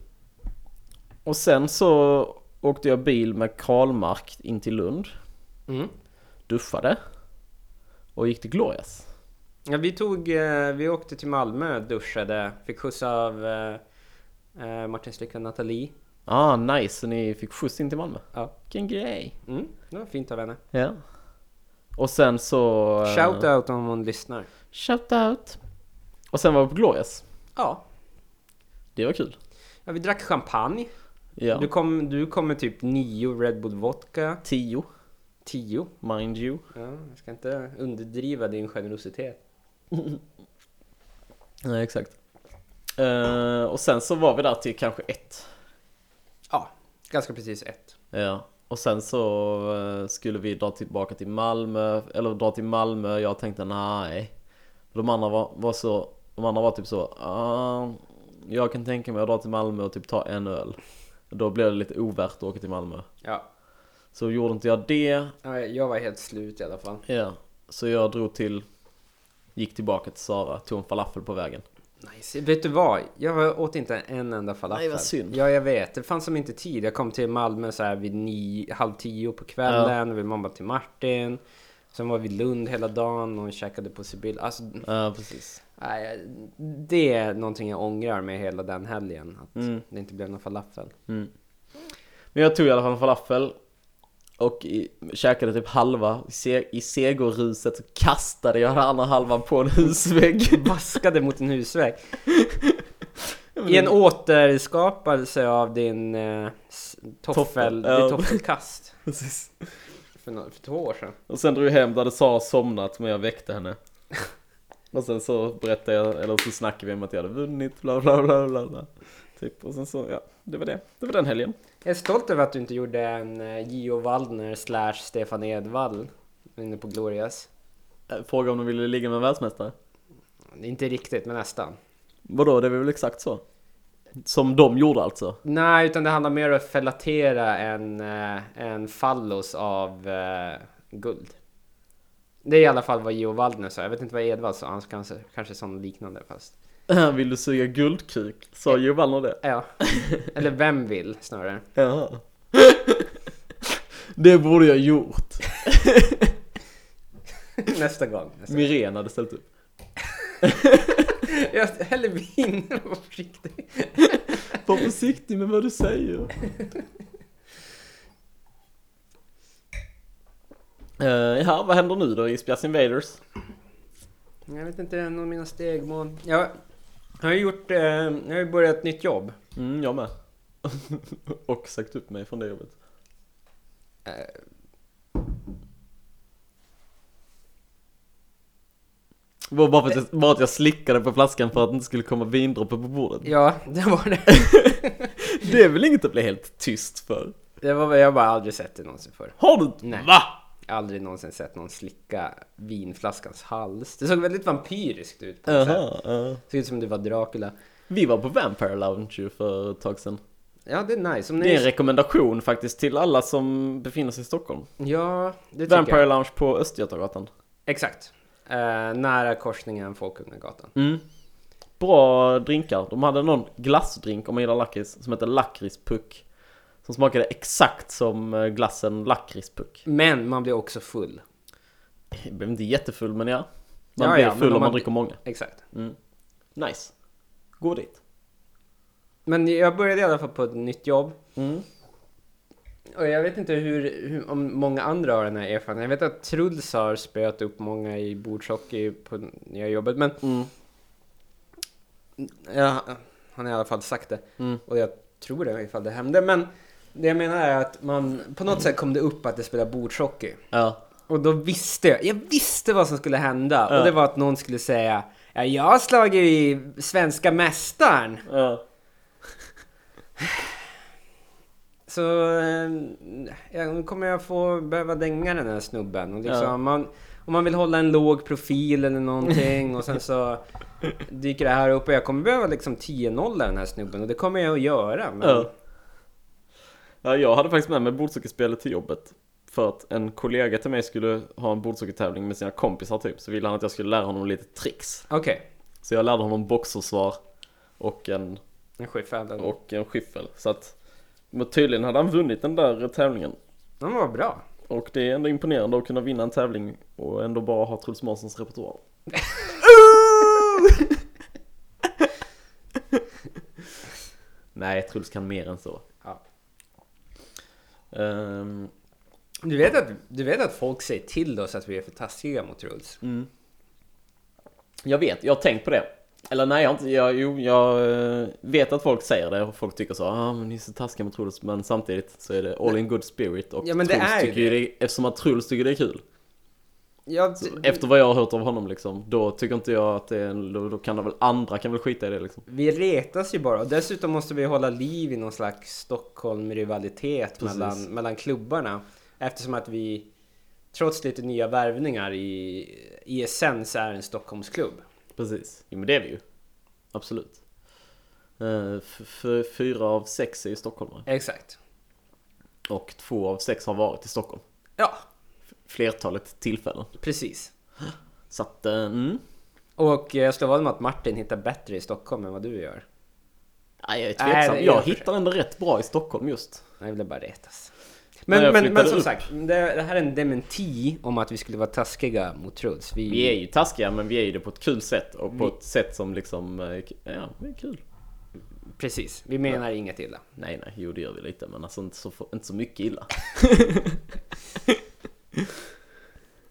Speaker 1: Och sen så åkte jag bil med Karlmark in till Lund,
Speaker 2: Mm.
Speaker 1: duschade och gick till Glorias.
Speaker 2: Ja, vi, tog, eh, vi åkte till Malmö, duschade, fick skjuts av eh, eh, Martins flickvän Nathalie.
Speaker 1: Ah, nice, så ni fick skjuts in till Malmö.
Speaker 2: Ja.
Speaker 1: Vilken grej.
Speaker 2: Mm, det var fint av henne.
Speaker 1: Ja. Och sen så... eh,
Speaker 2: Shout out om hon lyssnar.
Speaker 1: Shout out. Och sen var vi på Glorias.
Speaker 2: Ja.
Speaker 1: Det var kul.
Speaker 2: ja, vi drack champagne.
Speaker 1: Ja.
Speaker 2: Du, kom, du kom med typ nio Red Bull Vodka.
Speaker 1: Tio,
Speaker 2: Tio.
Speaker 1: mind you.
Speaker 2: Ja, jag ska inte underdriva din generositet.
Speaker 1: Nej, exakt. Eh, och sen så var vi där till kanske ett.
Speaker 2: Ja, ganska precis ett.
Speaker 1: Ja. Och sen så eh, skulle vi dra tillbaka till Malmö, eller dra till Malmö, jag tänkte nej. De andra var, var så, de andra var typ så, "Ah, jag kan tänka mig att dra till Malmö och typ ta en öl. Då blev det lite ovärt att åka till Malmö.
Speaker 2: Ja,
Speaker 1: Så gjorde inte jag det,
Speaker 2: Ja, Jag var helt slut i alla fall.
Speaker 1: ja. Så jag drog till, gick tillbaka till Sara, tog en falafel på vägen.
Speaker 2: Nice. Vet du vad? Jag åt inte en enda falafel.
Speaker 1: Nej, vad synd.
Speaker 2: Ja, jag vet. Det fanns som inte tid. Jag kom till Malmö så här vid nio, halv tio på kvällen. Vi mamma till Martin. Sen var vi i Lund hela dagen och käkade på Sibyl. Alltså,
Speaker 1: Ja, Eh, precis.
Speaker 2: nej, det är någonting jag ångrar med hela den helgen. Att
Speaker 1: Mm.
Speaker 2: det inte blev någon falafel.
Speaker 1: Mm. Men jag tog i alla fall en falafel och i, käkade typ halva. I, se, I segerruset så kastade jag den andra halvan på en husvägg.
Speaker 2: Vaskade mot en husvägg. I en återskapelse av din eh, s- toffel,
Speaker 1: Toffel,
Speaker 2: ditt
Speaker 1: ja.
Speaker 2: toffelkast.
Speaker 1: Precis.
Speaker 2: För, nå- för två år sedan.
Speaker 1: Och sen drog jag hem där det sa somnat men jag väckte henne. Och sen så berättade jag, eller så snackade vi om att jag hade vunnit, bla bla bla bla. bla. Typ, och sen så, ja, det var det. Det var den helgen.
Speaker 2: Jag är stolt över att du inte gjorde en eh, Gio Waldner slash Stefan Edvall inne på Glorias.
Speaker 1: eh, fråga om de ville ligga med en världsmästare.
Speaker 2: Inte riktigt, men nästan.
Speaker 1: Vadå, det är väl exakt så? Som de gjorde alltså?
Speaker 2: Nej, utan det handlar mer om att fellatera en, eh, en fallos av eh, guld. Det är i alla fall vad Geo Waldner sa. Jag vet inte vad Edvard sa. Han kanske, kanske sa något liknande fast.
Speaker 1: Vill du suga guldkuk? Sa Joe Wallner det?
Speaker 2: Ja. Eller vem vill snarare.
Speaker 1: Jaha. Det borde jag gjort.
Speaker 2: Nästa gång. Nästa. gång.
Speaker 1: Mirren hade ställt upp.
Speaker 2: Jag häller vin. Var försiktig.
Speaker 1: Var försiktig med vad du säger. Eh, ja, vad händer nu då i Space Invaders?
Speaker 2: Jag vet inte, det är någon av mina stegmål. Jag har ju gjort... Eh, jag har ju börjat ett nytt jobb.
Speaker 1: Mm, jag med. Och sagt upp mig från det jobbet. Eh. Det var bara, för att jag, bara att jag slickade på flaskan för att det inte skulle komma vindroppar på bordet.
Speaker 2: Ja, det var det.
Speaker 1: Det är väl inget att bli helt tyst för?
Speaker 2: Det var väl, jag har bara aldrig sett det någonsin förr.
Speaker 1: Har du inte?
Speaker 2: Nej.
Speaker 1: Va?
Speaker 2: Jag har aldrig någonsin sett någon slicka vinflaskans hals. Det såg väldigt vampyriskt ut. På något sätt.
Speaker 1: Aha, ja.
Speaker 2: Såg ut som det var Dracula.
Speaker 1: Vi var på Vampire Lounge ju för ett tag sedan.
Speaker 2: Ja, det är nice. Om
Speaker 1: Det är en
Speaker 2: ni...
Speaker 1: rekommendation faktiskt till alla som befinner sig i Stockholm.
Speaker 2: Ja, det tycker
Speaker 1: Vampire
Speaker 2: jag.
Speaker 1: Lounge på Östgötagatan.
Speaker 2: Exakt. Eh, nära korsningen Folkungagatan.
Speaker 1: Mm. Bra drinkar. De hade någon glassdrink, om man gillar lakrits, som hette lakritspuck. Som smakade exakt som eh, glassen lakritspuck.
Speaker 2: Men man blir också full.
Speaker 1: Jag blev inte jättefull, men ja. Man
Speaker 2: Ja,
Speaker 1: blir
Speaker 2: ja, men
Speaker 1: full
Speaker 2: om
Speaker 1: om man
Speaker 2: man-
Speaker 1: dricker många.
Speaker 2: Exakt.
Speaker 1: Nice. Gå dit.
Speaker 2: Men jag började i alla fall på ett nytt jobb.
Speaker 1: Mm.
Speaker 2: Och jag vet inte hur, hur, om många andra har den här erfarenheten. Jag vet att Truls har spöat upp många i bordshockey på nya jobbet, men
Speaker 1: Mm.
Speaker 2: ja, han har i alla fall sagt det.
Speaker 1: Mm.
Speaker 2: Och jag tror det ifall det hände. Men det jag menar är att man, på något sätt kom det upp att det spelar bordshockey.
Speaker 1: Ja.
Speaker 2: Och då visste jag, jag visste vad som skulle hända.
Speaker 1: Ja.
Speaker 2: Och det var att någon skulle säga Ja, jag har slagit i svenska mästaren.
Speaker 1: Ja.
Speaker 2: Så eh, jag- nu kommer jag få behöva dänga den här snubben. Och liksom,
Speaker 1: Ja.
Speaker 2: man, om man vill hålla en låg profil eller någonting och sen så dyker det här upp och jag kommer behöva liksom 10-0 den här snubben och det kommer jag att göra. Men
Speaker 1: Ja. Ja, jag hade faktiskt med mig bordsockerspelet till jobbet. För att en kollega till mig skulle ha en bordsockertävling med sina kompisar typ. Så ville han att jag skulle lära honom lite tricks.
Speaker 2: Okej,
Speaker 1: Så jag lärde honom boxersvar och en,
Speaker 2: en skyffel.
Speaker 1: och en skyffel. Så att men tydligen hade han vunnit den där tävlingen.
Speaker 2: Den var bra.
Speaker 1: Och det är ändå imponerande att kunna vinna en tävling och ändå bara ha Truls Månssons repertoar. Nej, Truls kan mer än så.
Speaker 2: Ja.
Speaker 1: Ehm,
Speaker 2: Du, vet att, du vet att folk säger till oss att vi är för taskiga mot Truls?
Speaker 1: Mm. Jag vet, jag har tänkt på det. Eller nej, jag har inte, jag, jo, jag eh, vet att folk säger det och folk tycker så, ah men ni är så taskiga mot Truls, men samtidigt så är det all in good spirit och
Speaker 2: Ja, men det
Speaker 1: Truls
Speaker 2: är ju
Speaker 1: tycker ju det, eftersom att Truls tycker det är kul.
Speaker 2: Ja, d-
Speaker 1: Efter vad jag har hört av honom liksom, då tycker inte jag att det är, en- då, då kan det väl, andra kan väl skita i det liksom.
Speaker 2: vi retas ju bara och dessutom måste vi hålla liv i någon slags Stockholm-rivalitet
Speaker 1: Precis.
Speaker 2: mellan, mellan klubbarna. Eftersom att vi, trots lite nya värvningar, i, E i essens är en Stockholmsklubb.
Speaker 1: Precis. Jo men det är vi ju. Absolut. Eh, f- f- fyra av sex är ju stockholmare.
Speaker 2: Exakt.
Speaker 1: Och två av sex har varit i Stockholm.
Speaker 2: Ja,
Speaker 1: Flertalet tillfällen.
Speaker 2: precis.
Speaker 1: Så att, eh, mm.
Speaker 2: Och eh, jag slår vad med att Martin hittar bättre i Stockholm än vad du gör.
Speaker 1: Nej, jag är
Speaker 2: Nej,
Speaker 1: tveksam.
Speaker 2: det är
Speaker 1: jag
Speaker 2: jag för
Speaker 1: hittar ändå rätt bra i Stockholm just.
Speaker 2: Jag ville bara retas.
Speaker 1: När jag
Speaker 2: Men, men, men
Speaker 1: flyttade
Speaker 2: som
Speaker 1: upp.
Speaker 2: sagt, det, det här är en dementi om att vi skulle vara taskiga mot Truls. Vi,
Speaker 1: Vi är ju taskiga, men vi är ju det på ett kul sätt. Och på ett sätt som liksom, eh, ja, det är kul.
Speaker 2: Precis, vi menar inget illa.
Speaker 1: Nej, nej, jo det gör vi lite, men alltså inte så, inte så mycket illa.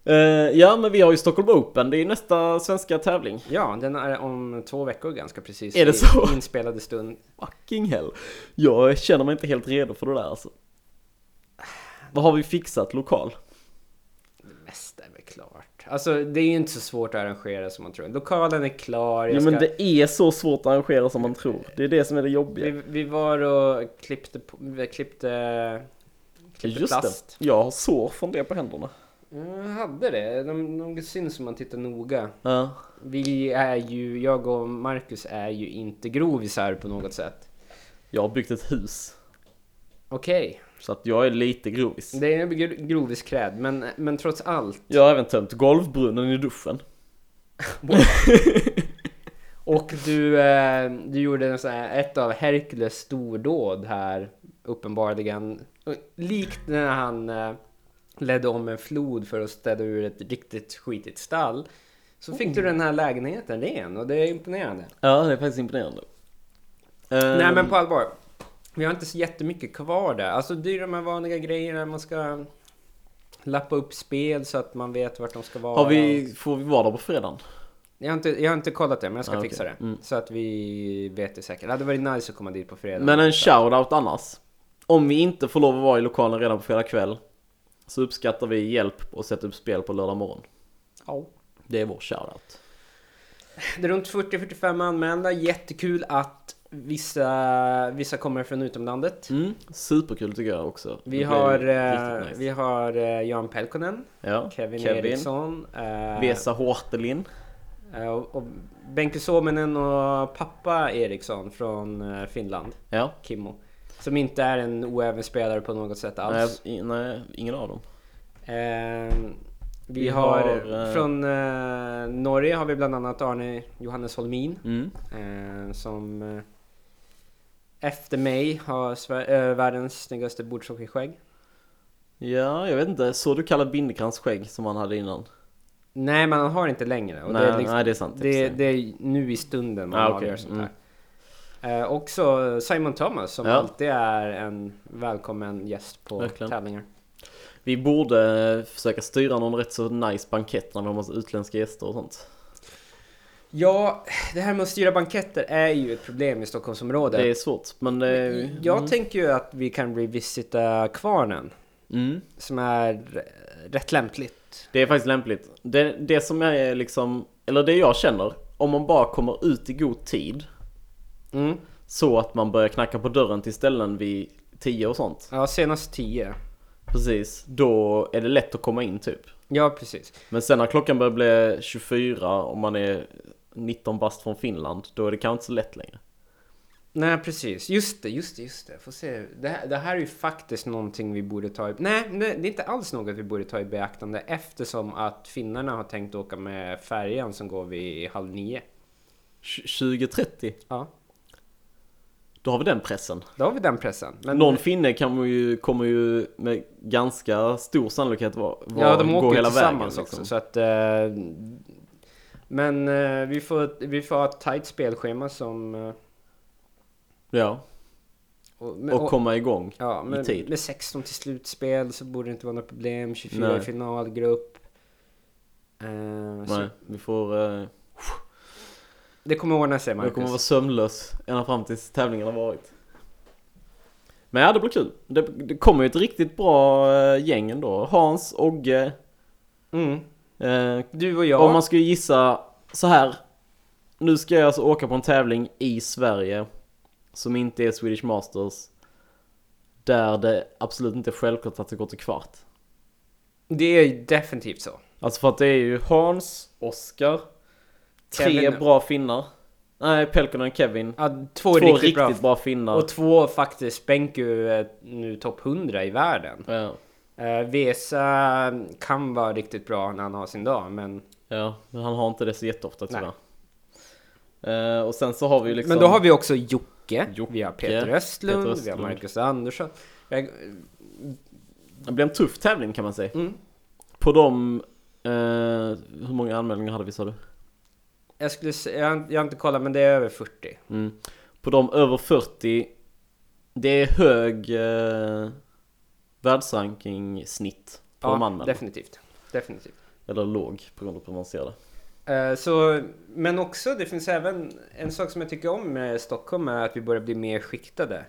Speaker 1: Eh, ja, men vi har ju Stockholm Open. Det är ju nästa svenska tävling.
Speaker 2: Ja, den är om två veckor ganska precis.
Speaker 1: Är det
Speaker 2: i
Speaker 1: så?
Speaker 2: Inspelade stund.
Speaker 1: Fucking hell. Jag känner mig inte helt redo för det där alltså. Vad har vi fixat lokal?
Speaker 2: Det mesta är väl klart. Alltså, det är ju inte så svårt att arrangera som man tror. Lokalen är klar.
Speaker 1: Jo
Speaker 2: Jag
Speaker 1: men
Speaker 2: ska...
Speaker 1: det är så svårt att arrangera som man tror. Det är det som är det
Speaker 2: vi,
Speaker 1: jobbiga.
Speaker 2: vi var och klippte... på- Vi klippte... klippte
Speaker 1: Just det,
Speaker 2: plast.
Speaker 1: jag har sår från det på händerna.
Speaker 2: Jag hade det. De, de syns om man tittar noga.
Speaker 1: Ja.
Speaker 2: Vi är ju, jag och Marcus är ju inte grovisar på något sätt.
Speaker 1: Jag har byggt ett hus.
Speaker 2: Okej,
Speaker 1: Så att jag är lite grovis.
Speaker 2: det är ju groviskräd, men, men trots allt.
Speaker 1: Jag har även tömt golvbrunnen i duschen.
Speaker 2: Och du, eh, du gjorde en sån här, ett av Herkules stordåd här, uppenbarligen. Likt när han eh, ledde om en flod för att städa ur ett riktigt skitigt stall. Så fick
Speaker 1: Oh.
Speaker 2: du den här lägenheten ren och det är imponerande.
Speaker 1: Ja, det är faktiskt imponerande.
Speaker 2: Nej
Speaker 1: Ehm,
Speaker 2: men på allvar. Vi har inte så jättemycket kvar där. Alltså det är ju de här vanliga grejerna man ska lappa upp spel så att man vet vart de ska vara.
Speaker 1: har vi, får vi vara där på fredagen?
Speaker 2: Jag, har inte, jag har inte kollat det men jag ska
Speaker 1: Ah, okej.
Speaker 2: fixa det.
Speaker 1: Mm.
Speaker 2: Så att vi vet det säkert. Det hade varit nice att komma dit på fredag.
Speaker 1: Men en shoutout annars. Om vi inte får lov att vara i lokalen redan på fredag kväll så uppskattar vi hjälp och sätta upp spel på lördag morgon.
Speaker 2: Ja.
Speaker 1: Det är vår shoutout.
Speaker 2: Det är runt 40-45 anmälda. Jättekul att vissa, vissa kommer från utomlandet.
Speaker 1: Mm, superkul tycker jag också.
Speaker 2: Vi
Speaker 1: Det
Speaker 2: har,
Speaker 1: blir
Speaker 2: eh,
Speaker 1: riktigt nice.
Speaker 2: vi har eh, Jan Pelkonen,
Speaker 1: ja,
Speaker 2: Kevin,
Speaker 1: Kevin, Kevin
Speaker 2: Eriksson, eh,
Speaker 1: Vesa Hortelin.
Speaker 2: eh, och, och Benke Suominen och pappa Eriksson från eh, Finland,
Speaker 1: Ja.
Speaker 2: Kimmo. Som inte är en oäven spelare på något sätt alls.
Speaker 1: Nej, i- nej, ingen av dem.
Speaker 2: Eh, vi,
Speaker 1: Vi
Speaker 2: har,
Speaker 1: har, eh,
Speaker 2: från eh, Norge har vi bland annat Arne Johannes Holmin.
Speaker 1: Mm.
Speaker 2: Eh, som eh, efter mig har Sver- eh, världens snyggaste bordsockerskägg.
Speaker 1: Ja, jag vet inte. Så du kallar Bindekrans skägg som han hade innan?
Speaker 2: Nej, men han har inte längre. Och
Speaker 1: nej,
Speaker 2: det, är liksom,
Speaker 1: nej, det är sant. i och för
Speaker 2: det,
Speaker 1: sig.
Speaker 2: det är nu i stunden man
Speaker 1: Ah, okej.
Speaker 2: avgör sånt där. Eh, också Simon Thomas som
Speaker 1: Ja.
Speaker 2: alltid är en välkommen gäst på
Speaker 1: Verkligen.
Speaker 2: tävlingar.
Speaker 1: Vi borde eh, försöka styra någon rätt så nice bankett när de har utländska gäster och sånt.
Speaker 2: Ja, det här med att styra banketter är ju ett problem i Stockholmsområdet.
Speaker 1: Det är svårt, men... Det,
Speaker 2: Jag tänker ju att vi kan revisita Kvarnen,
Speaker 1: mm.
Speaker 2: som är eh, rätt lämpligt.
Speaker 1: Det är faktiskt lämpligt. Det, det som jag är liksom, eller det jag känner, om man bara kommer ut i god tid
Speaker 2: Mm.
Speaker 1: så att man börjar knacka på dörren till ställen vid 10 och sånt.
Speaker 2: Ja, senast 10.
Speaker 1: Precis, då är det lätt att komma in typ.
Speaker 2: Ja, precis.
Speaker 1: Men sen när klockan börjar bli 24 om man är 19 bast från Finland, då är det kanske inte så lätt längre.
Speaker 2: Nej, precis. Just det, just det, just det. Får se. Det här, det här är ju faktiskt någonting vi borde ta i... Nej, nej, det är inte alls något vi borde ta i beaktande eftersom att finnarna har tänkt åka med färjan som går vid halv nio.
Speaker 1: Tj- 20.30,
Speaker 2: Ja,
Speaker 1: då har vi den pressen.
Speaker 2: då har vi den pressen. Men
Speaker 1: Någon finne kan man ju, kommer ju med ganska stor sannolikhet vara, vara
Speaker 2: ja, de åker
Speaker 1: gå
Speaker 2: ju
Speaker 1: hela vägen.
Speaker 2: tillsammans
Speaker 1: Liksom.
Speaker 2: också, så att... eh, men eh, vi, får, vi får ha ett tajt spelschema som... eh,
Speaker 1: Ja,
Speaker 2: och,
Speaker 1: och komma igång.
Speaker 2: Ja, men
Speaker 1: tid.
Speaker 2: med 16 till slutspel så borde det inte vara något problem. 24 i
Speaker 1: Nej.
Speaker 2: finalgrupp. Eh, så
Speaker 1: Nej, vi får... eh,
Speaker 2: det kommer ordna sig,
Speaker 1: Jag
Speaker 2: Marcus.
Speaker 1: kommer vara sömnlös ända fram tills tävlingen har varit. Men ja, det blir kul. Det, det kommer ju ett riktigt bra eh, gäng ändå. Hans, Ogge.
Speaker 2: Mm.
Speaker 1: Eh,
Speaker 2: Du och jag.
Speaker 1: Om man skulle gissa så här. Nu ska jag alltså åka på en tävling i Sverige som inte är Swedish Masters. Där det absolut inte är självklart att det går till kvart.
Speaker 2: Det är definitivt så.
Speaker 1: Alltså för att det är ju Hans, Oskar, tre
Speaker 2: Kevin.
Speaker 1: bra finnar. Nej, Pelkonen, Kevin.
Speaker 2: Ja, två,
Speaker 1: Två
Speaker 2: riktigt,
Speaker 1: riktigt, bra,
Speaker 2: bra.
Speaker 1: finnar.
Speaker 2: Och två faktiskt Benku är nu topp 100 i världen.
Speaker 1: Ja.
Speaker 2: Eh, Vesa kan vara riktigt bra när han har sin dag, men...
Speaker 1: Ja, men han har inte det så jätteofta
Speaker 2: Nej.
Speaker 1: tyvärr. Eh, och sen så har vi ju liksom...
Speaker 2: Men då har vi också Jocke,
Speaker 1: Jocke,
Speaker 2: vi har Peter Östlund,
Speaker 1: Peter
Speaker 2: vi har
Speaker 1: Östlund.
Speaker 2: Marcus Andersson. Jag,
Speaker 1: Det blir en tuff tävling kan man säga.
Speaker 2: Mm.
Speaker 1: På de... Eh, hur många anmälningar hade vi sa du?
Speaker 2: jag, skulle, sä- jag, har- jag har inte kollat, men det är över 40.
Speaker 1: Mm. På de över 40... Det är hög eh, världsranking-snitt på de anmälda.
Speaker 2: definitivt. Definitivt.
Speaker 1: Eller låg, på grund av hur man ser det.
Speaker 2: Eh, Så, men också, det finns även en sak som jag tycker om med Stockholm är att vi börjar bli mer skiktade.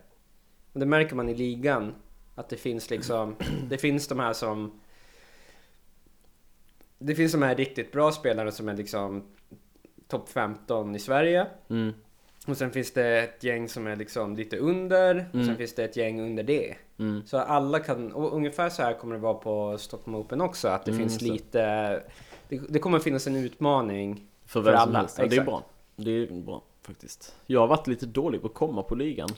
Speaker 2: Och det märker man i ligan. Att det finns liksom, det finns de här som... Det finns de här riktigt bra spelarna som är liksom topp 15 i Sverige.
Speaker 1: Mm.
Speaker 2: Och sen finns det ett gäng som är liksom lite under. Och sen
Speaker 1: Mm.
Speaker 2: finns det ett gäng under det.
Speaker 1: Mm.
Speaker 2: Så alla kan, och ungefär så här kommer det vara på Stockholm Open också, att det
Speaker 1: Mm,
Speaker 2: finns
Speaker 1: just det.
Speaker 2: lite, det, det kommer finnas en utmaning.
Speaker 1: För vem som
Speaker 2: alla,
Speaker 1: helst. Ja, det är
Speaker 2: exakt.
Speaker 1: bra. Det är bra faktiskt. Jag har varit lite dålig på att komma på ligan.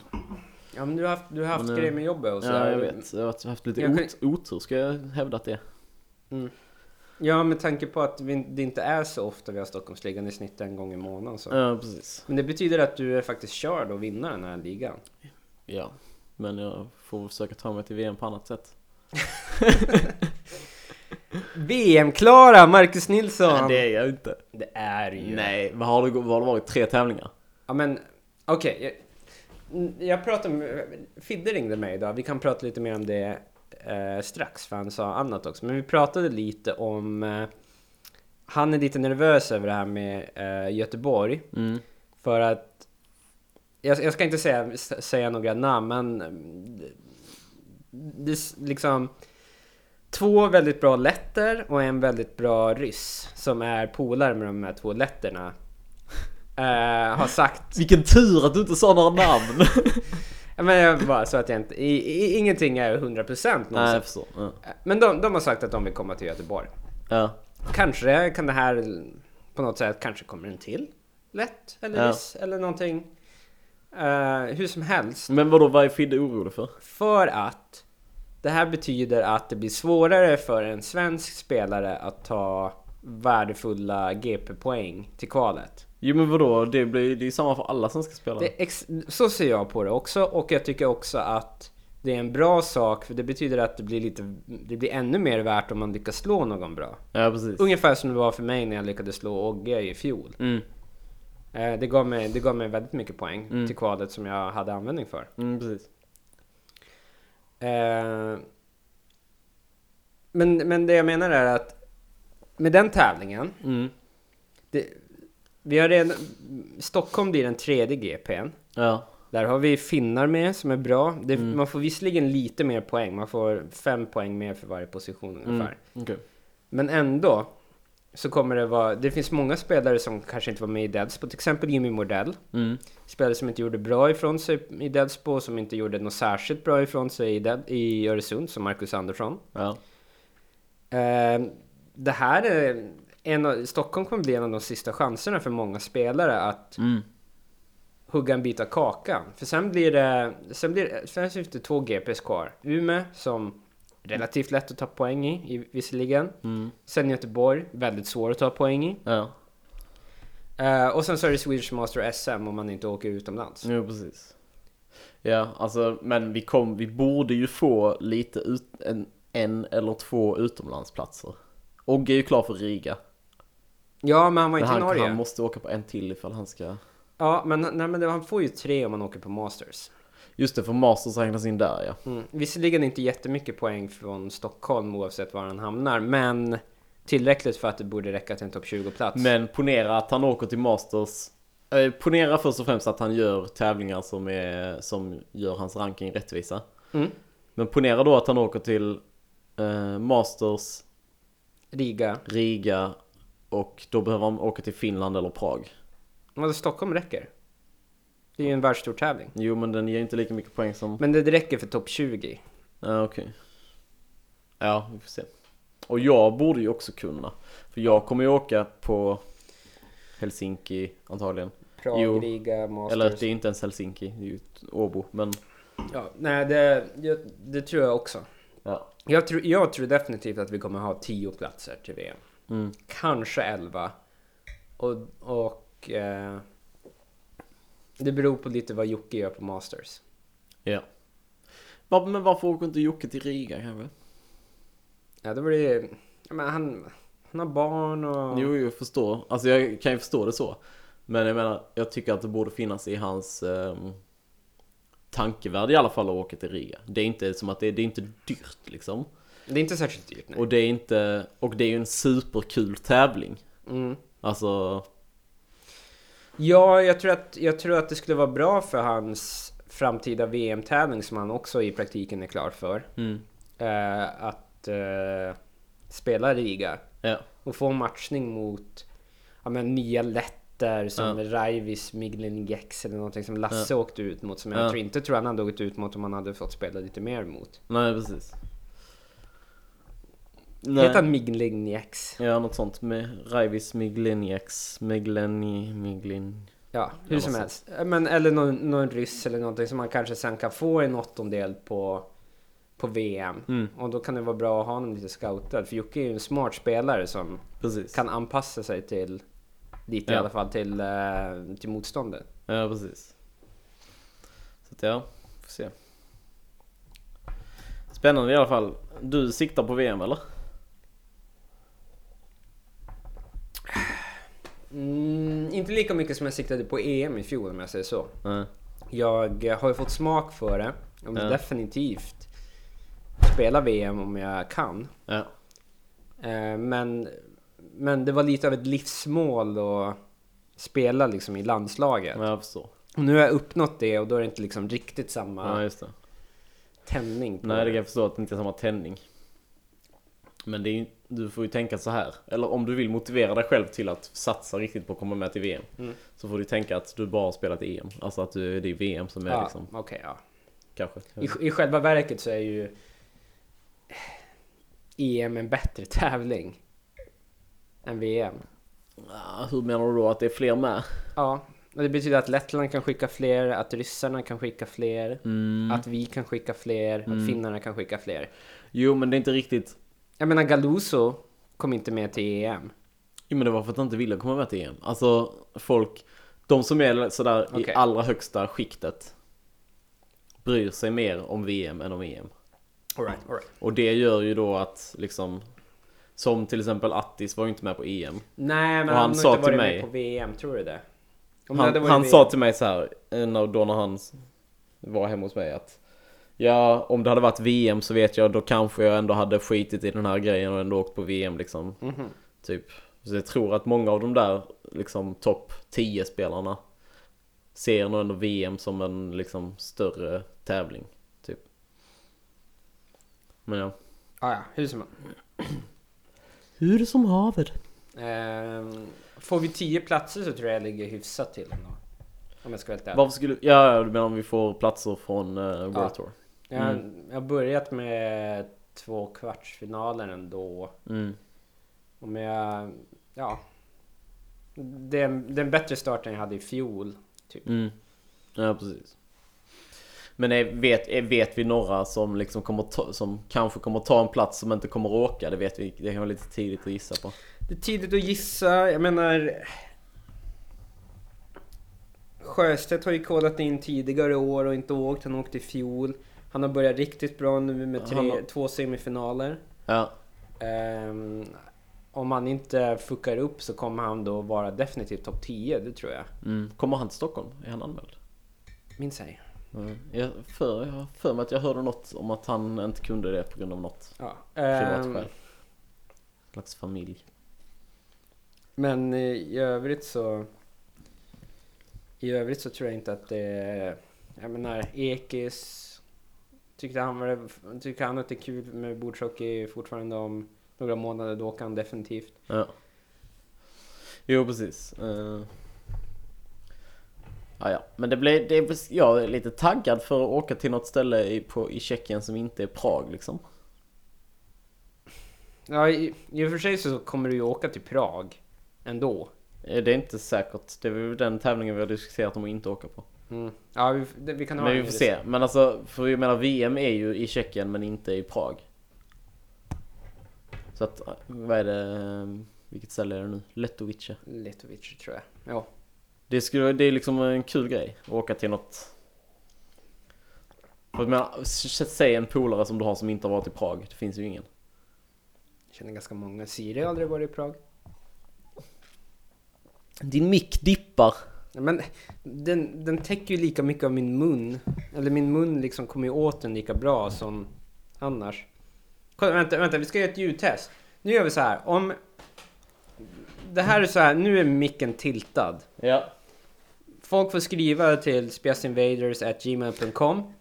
Speaker 2: Ja men du har haft, du har haft
Speaker 1: Men, eh,
Speaker 2: grejer med jobbet och så
Speaker 1: Ja,
Speaker 2: här.
Speaker 1: jag vet. Jag har haft- haft lite
Speaker 2: Alltså, Jag kan-
Speaker 1: ot- otur ska jag hävda att det är.
Speaker 2: Ja, med tanke på att vi, det inte är så ofta vi har Stockholmsligan i snitt en gång i månaden så.
Speaker 1: Ja, precis.
Speaker 2: Men det betyder att du är faktiskt körd att vinna den här ligan.
Speaker 1: Ja. Men jag får försöka ta mig till VM på annat sätt.
Speaker 2: VM-klara Marcus Nilsson!
Speaker 1: Nej,
Speaker 2: det...
Speaker 1: det är jag inte.
Speaker 2: är det ju.
Speaker 1: Nej, vad har det, vad har det varit? Tre tävlingar?
Speaker 2: Ja men, okej. Jag, jag pratade med... Fidde ringde mig idag. Vi kan prata lite mer om det eh, strax, för han sa annat också. Men vi pratade lite om... Eh, han är lite nervös över det här med eh, Göteborg.
Speaker 1: Mm.
Speaker 2: För att... Jag, jag ska inte säga, s- säga några namn, men... eh, Det, är s- liksom... Två väldigt bra letter och en väldigt bra ryss som är polare med de här två letterna. eh, har sagt...
Speaker 1: Vilken tur att du inte sa några namn!
Speaker 2: Ja, Men jag bara så att jag inte... I, i, ingenting är 100%
Speaker 1: Nej, jag
Speaker 2: någonsin.
Speaker 1: förstår. Ja.
Speaker 2: Men de, de har sagt att de vill komma till Göteborg.
Speaker 1: Ja.
Speaker 2: Kanske kan det här på något sätt, kanske kommer en till lätt eller
Speaker 1: Ja.
Speaker 2: viss eller någonting. Eh, hur som helst.
Speaker 1: Men vadå, vad är Fidde orolig för?
Speaker 2: För att det här betyder att det blir svårare för en svensk spelare att ta värdefulla GP-poäng till kvalet.
Speaker 1: Jo men vadå, det, blir, det är ju samma för alla som ska spela.
Speaker 2: Det är ex- så ser jag på det också och jag tycker också att det är en bra sak för det betyder att det blir, lite, det blir ännu mer värt om man lyckas slå någon bra.
Speaker 1: Ja precis.
Speaker 2: Ungefär som det var för mig när jag lyckades slå Ogge i fjol.
Speaker 1: Mm.
Speaker 2: Eh, Det gav mig, det gav mig väldigt mycket poäng
Speaker 1: Mm.
Speaker 2: till kvalet som jag hade användning för.
Speaker 1: Mm, precis.
Speaker 2: Eh, Men, men det jag menar är att med den tävlingen,
Speaker 1: Mm.
Speaker 2: det, vi har redan, Stockholm blir den tredje GPn.
Speaker 1: Ja.
Speaker 2: Där har vi finnar med som är bra. Det,
Speaker 1: Mm.
Speaker 2: Man får visserligen lite mer poäng, man får fem poäng mer för varje position ungefär.
Speaker 1: Mm. Okej.
Speaker 2: Men ändå så kommer det vara, det finns många spelare som kanske inte var med i Deadspo, till exempel Jimmy Mordell.
Speaker 1: Mm.
Speaker 2: Spelare som inte gjorde bra ifrån sig i Deadspo, som inte gjorde något särskilt bra ifrån sig i, Dead, i Öresund, som Marcus Andersson.
Speaker 1: Ja.
Speaker 2: Eh, det här är, en av, Stockholm kommer bli en av de sista chanserna för många spelare att
Speaker 1: Mm.
Speaker 2: hugga en bit av kakan. För sen blir det, sen blir det, sen finns det två GPs kvar. Umeå, som relativt lätt att ta poäng i, i visserligen.
Speaker 1: Mm.
Speaker 2: Sen Göteborg, väldigt svår att ta poäng i.
Speaker 1: Ja.
Speaker 2: Eh, och sen så är det Swedish Master SM om man inte åker utomlands.
Speaker 1: Jo precis. Ja, alltså men vi kom, vi borde ju få lite ut, en, en eller två utomlandsplatser. Ogge är ju klar för Riga.
Speaker 2: Ja, men han var
Speaker 1: Men
Speaker 2: inte
Speaker 1: han,
Speaker 2: i Norge.
Speaker 1: han måste åka på en till ifall han ska...
Speaker 2: Ja, men, nej, men det- han får ju tre om man åker på Masters.
Speaker 1: Just det, för Masters räknas in där ja.
Speaker 2: Mm. Visserligen inte jättemycket poäng från Stockholm oavsett var han hamnar, men tillräckligt för att det borde räcka till en topp 20-plats.
Speaker 1: Men ponera att han åker till Masters. Eh, ponera först och främst att han gör tävlingar som, är, som gör hans ranking rättvisa.
Speaker 2: Mm.
Speaker 1: Men ponera då att han åker till eh, Masters,
Speaker 2: Riga.
Speaker 1: Riga och då behöver han åka till Finland eller Prag.
Speaker 2: Alltså, Stockholm räcker. Det är ju en världsstor tävling.
Speaker 1: Jo men den ger inte lika mycket poäng som...
Speaker 2: Men det räcker för topp 20.
Speaker 1: Ja, okej. Ja, vi får se. Och jag borde ju också kunna. För jag kommer ju åka på Helsinki antagligen.
Speaker 2: Prag,
Speaker 1: Jo.
Speaker 2: Riga,
Speaker 1: Eller
Speaker 2: Masters.
Speaker 1: det är inte ens Helsinki, det är ju Åbo. Men
Speaker 2: Ja, nej, det, jag, det tror jag också.
Speaker 1: ja.
Speaker 2: Jag tror, jag tror definitivt att vi kommer ha 10 platser till VM.
Speaker 1: Mm.
Speaker 2: Kanske 11. Och, och eh, det beror på lite vad Jocke gör på Masters.
Speaker 1: Ja. Var, men varför åker inte Jocke till Riga kanske?
Speaker 2: Ja, då blir det... ja, Men han, han har barn och...
Speaker 1: Jo, jag förstår. Alltså jag kan ju förstå det så. Men jag menar, jag tycker att det borde finnas i hans ehm, tankevärld i alla fall att åka till Riga. Det är inte som att det, det är inte dyrt liksom.
Speaker 2: Det är inte särskilt dyrt nu.
Speaker 1: Och det är inte, och det är ju en superkul tävling.
Speaker 2: Mm.
Speaker 1: Alltså,
Speaker 2: Ja, jag tror, att, jag tror att det skulle vara bra för hans framtida VM-tävling som han också i praktiken är klar för.
Speaker 1: mm,
Speaker 2: Eh, att eh, spela Riga.
Speaker 1: ja.
Speaker 2: och få matchning mot ja, men nya letter efter som Raivis Miglingex eller någonting som Lasse åkte ut mot. Som jag
Speaker 1: Ja.
Speaker 2: tror inte tror han hade åkt ut mot om han hade fått spela lite mer mot.
Speaker 1: Nej, precis.
Speaker 2: Heter han Miglingex?
Speaker 1: Ja, något sånt. Med Raivis Migleniaks, Migleni, Miglin...
Speaker 2: Ja, hur
Speaker 1: Ja,
Speaker 2: som
Speaker 1: något
Speaker 2: helst. Eh, Men, eller någon, någon ryss eller någonting som man kanske sen kan få en åttondel på, på VM.
Speaker 1: Mm.
Speaker 2: Och då kan det vara bra att ha honom lite scoutad. För Jocke är ju en smart spelare som
Speaker 1: Precis.
Speaker 2: kan anpassa sig till lite i
Speaker 1: Ja.
Speaker 2: alla fall till, eh, till motståndet.
Speaker 1: Ja, precis. Så att ja, får se. Spännande i alla fall. Du siktar på VM eller?
Speaker 2: Mm, inte lika mycket som jag siktade på EM i fjol om jag säger så.
Speaker 1: Nej.
Speaker 2: Jag har ju fått smak för det. Jag vill
Speaker 1: Ja.
Speaker 2: definitivt spela VM om jag kan.
Speaker 1: Ja.
Speaker 2: Eh, Men, men det var lite av ett livsmål att spela liksom i landslaget.
Speaker 1: ja, jag förstår.
Speaker 2: Och nu har jag uppnått det och då är det inte liksom riktigt samma
Speaker 1: Ja, just det.
Speaker 2: tändning. På
Speaker 1: Nej, det kan jag förstå att det inte är samma tändning. Men det är, ju- du får ju tänka så här. Eller om du vill motivera dig själv till att satsa riktigt på att komma med till VM. Så får du tänka att du bara har spelat EM. Alltså att du, det är VM som är
Speaker 2: ja,
Speaker 1: liksom,
Speaker 2: okej, ja.
Speaker 1: kanske.
Speaker 2: I, I själva verket så är ju EM en bättre tävling än VM.
Speaker 1: Ja, hur menar du då att det är fler med?
Speaker 2: Ja, och det betyder att Lettland kan skicka fler, att ryssarna kan skicka fler,
Speaker 1: Mm.
Speaker 2: att vi kan skicka fler, att finnarna kan skicka fler.
Speaker 1: Jo, men det är inte riktigt...
Speaker 2: Jag menar Galuso kom inte med till E EM.
Speaker 1: Jo, men det var för att de inte ville komma med till EM. Alltså, folk... De som är sådär i
Speaker 2: Okej.
Speaker 1: allra högsta skiktet bryr sig mer om VM än om EM.
Speaker 2: All right, all right.
Speaker 1: Och det gör ju då att liksom Som till exempel Attis var ju inte med på E EM
Speaker 2: Nej, men
Speaker 1: Och
Speaker 2: han,
Speaker 1: han
Speaker 2: har
Speaker 1: sa
Speaker 2: inte
Speaker 1: till
Speaker 2: varit med
Speaker 1: mig-
Speaker 2: på VM, tror du det? Om det hade
Speaker 1: Han,
Speaker 2: varit
Speaker 1: han
Speaker 2: VM
Speaker 1: sa till mig så här eh, när- Då när han s- var hemma hos mig att Ja, om det hade varit VM så vet jag då kanske jag ändå hade skitit i den här grejen och ändå åkt på VM liksom
Speaker 2: Mhm.
Speaker 1: Typ Så jag tror att många av de där liksom topp 10 spelarna Ser nog ändå VM som en liksom större tävling Typ Men ja
Speaker 2: Ah, ja, hur som helst.
Speaker 1: Hur som haver
Speaker 2: Ehm, Får vi tio platser så tror jag jag ligger hyfsat till ändå. Om jag ska vara helt ärlig.
Speaker 1: Varför skulle... Ja, ja, du menar om vi får platser från eh, World
Speaker 2: Ja.
Speaker 1: Tour?
Speaker 2: Jag, jag har börjat med två kvartsfinaler ändå.
Speaker 1: Mm.
Speaker 2: Om jag... Ja. Det är, en, det är en bättre start än jag hade i fjol.
Speaker 1: Mm. Ja, precis. Men är, vet, är, vet vi några som, liksom kommer ta, som kanske kommer ta en plats som inte kommer åka? Det vet vi. Det kan vara lite tidigt att gissa på.
Speaker 2: Det är tidigt att gissa. Jag menar... Sjöstedt har ju kollat in tidigare år och inte åkt. Han åkte i fjol. Han har börjat riktigt bra nu med tre,
Speaker 1: Han har-
Speaker 2: två semifinaler.
Speaker 1: Ja,
Speaker 2: Ehm, om han inte fuckar upp så kommer han då vara definitivt topp 10, det tror jag.
Speaker 1: mm. Kommer han till Stockholm? Är han anmäld?
Speaker 2: Minns jag.
Speaker 1: Mm. Jag för, jag har för mig att jag hörde något om att han inte kunde det på grund av något
Speaker 2: Ja.
Speaker 1: privat
Speaker 2: Ehm,
Speaker 1: skäl. Slags familj.
Speaker 2: Men eh, i övrigt så... I övrigt så tror jag inte att det... Jag menar, Ekis... Tyckte han, var det, tyckte han att det är kul med bordshockey fortfarande om några månader, då åker han definitivt.
Speaker 1: Ja. Jo, precis. Uh. Ja, ja. Men det blir, det är, jag är lite taggad för att åka till något ställe i, på, i Tjeckien som inte är Prag liksom.
Speaker 2: Ja, i, i och för sig så kommer du ju åka till Prag ändå.
Speaker 1: Eh, Det är inte säkert. Det är väl den tävlingen vi har diskuterat om att inte åka på.
Speaker 2: Mm. Ja, vi, det, vi kan ha
Speaker 1: Men vi
Speaker 2: en-
Speaker 1: får se. Men alltså, för jag menar VM är ju i Tjeckien men inte i Prag. Så att, eh, vad är det? eh, Vilket ställe är det nu? Letovice.
Speaker 2: Letovic tror jag. Ja.
Speaker 1: Det, skulle, det är liksom en kul grej att åka till något. För jag menar, s- säg en polare som du har som inte har varit i Prag. Det finns ju ingen.
Speaker 2: Jag känner ganska många. Siri har aldrig varit i Prag.
Speaker 1: Din mick dippar.
Speaker 2: Ja, Men den, den täcker ju lika mycket av min mun. Eller min mun liksom kommer ju åt den lika bra som annars. Kolla, vänta, vänta, vi ska göra ett ljudtest. Nu gör vi så här. Om... Det här är så här, nu är micken tiltad.
Speaker 1: Ja.
Speaker 2: Folk får skriva till spjassinvaders.gmail.com.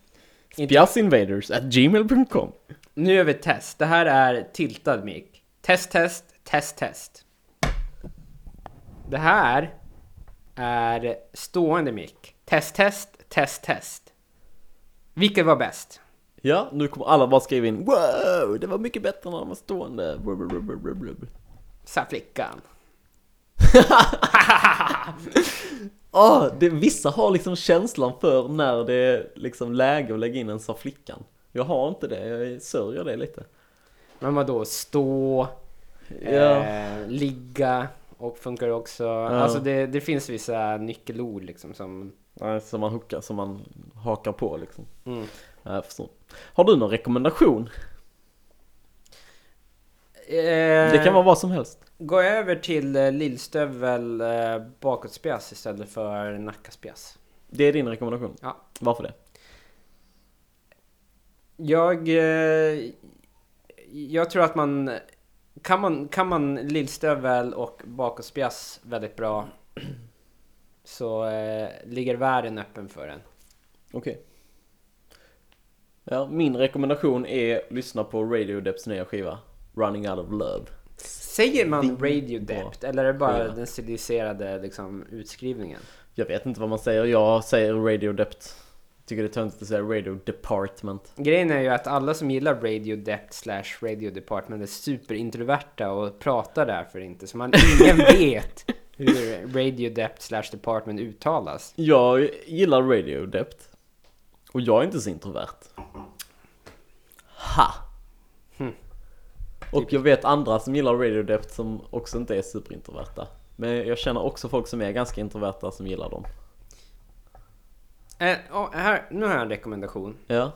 Speaker 1: Bjassinvaders at gmail.com.
Speaker 2: Nu gör vi ett test. Det här är tiltad mick. Test, test, test, test. Det här är stående mick. Test, test, test, test. Vilket var bäst?
Speaker 1: Ja, nu kommer alla bara skriva in Wow, det var mycket bättre när han var stående.
Speaker 2: Sa flickan.
Speaker 1: Ah, det, vissa har liksom känslan för när det är liksom läge att lägga in en sa flickan. Jag har inte det, jag sörjer det lite.
Speaker 2: Men vadå, stå,
Speaker 1: Ja.
Speaker 2: eh, ligga och funkar också. Alltså det, det finns vissa nyckelord liksom som...
Speaker 1: Nej, som man hookar, som man hakar på liksom.
Speaker 2: Mm.
Speaker 1: Nej, jag förstår. Har du någon rekommendation? Det
Speaker 2: Eh.
Speaker 1: kan vara vad som helst.
Speaker 2: Gå över till eh, lillstövel eh, bakåtspjäs istället för nackaspjäs.
Speaker 1: Det är din rekommendation?
Speaker 2: Ja.
Speaker 1: Varför det?
Speaker 2: Jag... Eh, jag tror att man... Kan man, kan man lillstövel och bakåtspjäs väldigt bra så eh, ligger världen öppen för en.
Speaker 1: Okej. Ja, min rekommendation är att lyssna på Radiodeps nya skiva Running Out of Love.
Speaker 2: Säger man
Speaker 1: Svinbra
Speaker 2: radio dept eller är det bara
Speaker 1: skiva.
Speaker 2: den stiliserade liksom, utskrivningen?
Speaker 1: Jag vet inte vad man säger, jag säger Radiodept. Tycker det är töntigt att säga Radio Department.
Speaker 2: Grejen är ju att alla som gillar Radio Dept slash Radio Department är superintroverta och pratar därför inte, så man ingen vet hur Radio Dept slash Department uttalas.
Speaker 1: Jag gillar Radiodept. Och jag är inte så introvert. Ha!
Speaker 2: Hm.
Speaker 1: Och jag vet andra som gillar Radiodept som också inte är superintroverta. Men jag känner också folk som är ganska introverta som gillar dem.
Speaker 2: Eh, och här, nu har jag en rekommendation.
Speaker 1: Ja.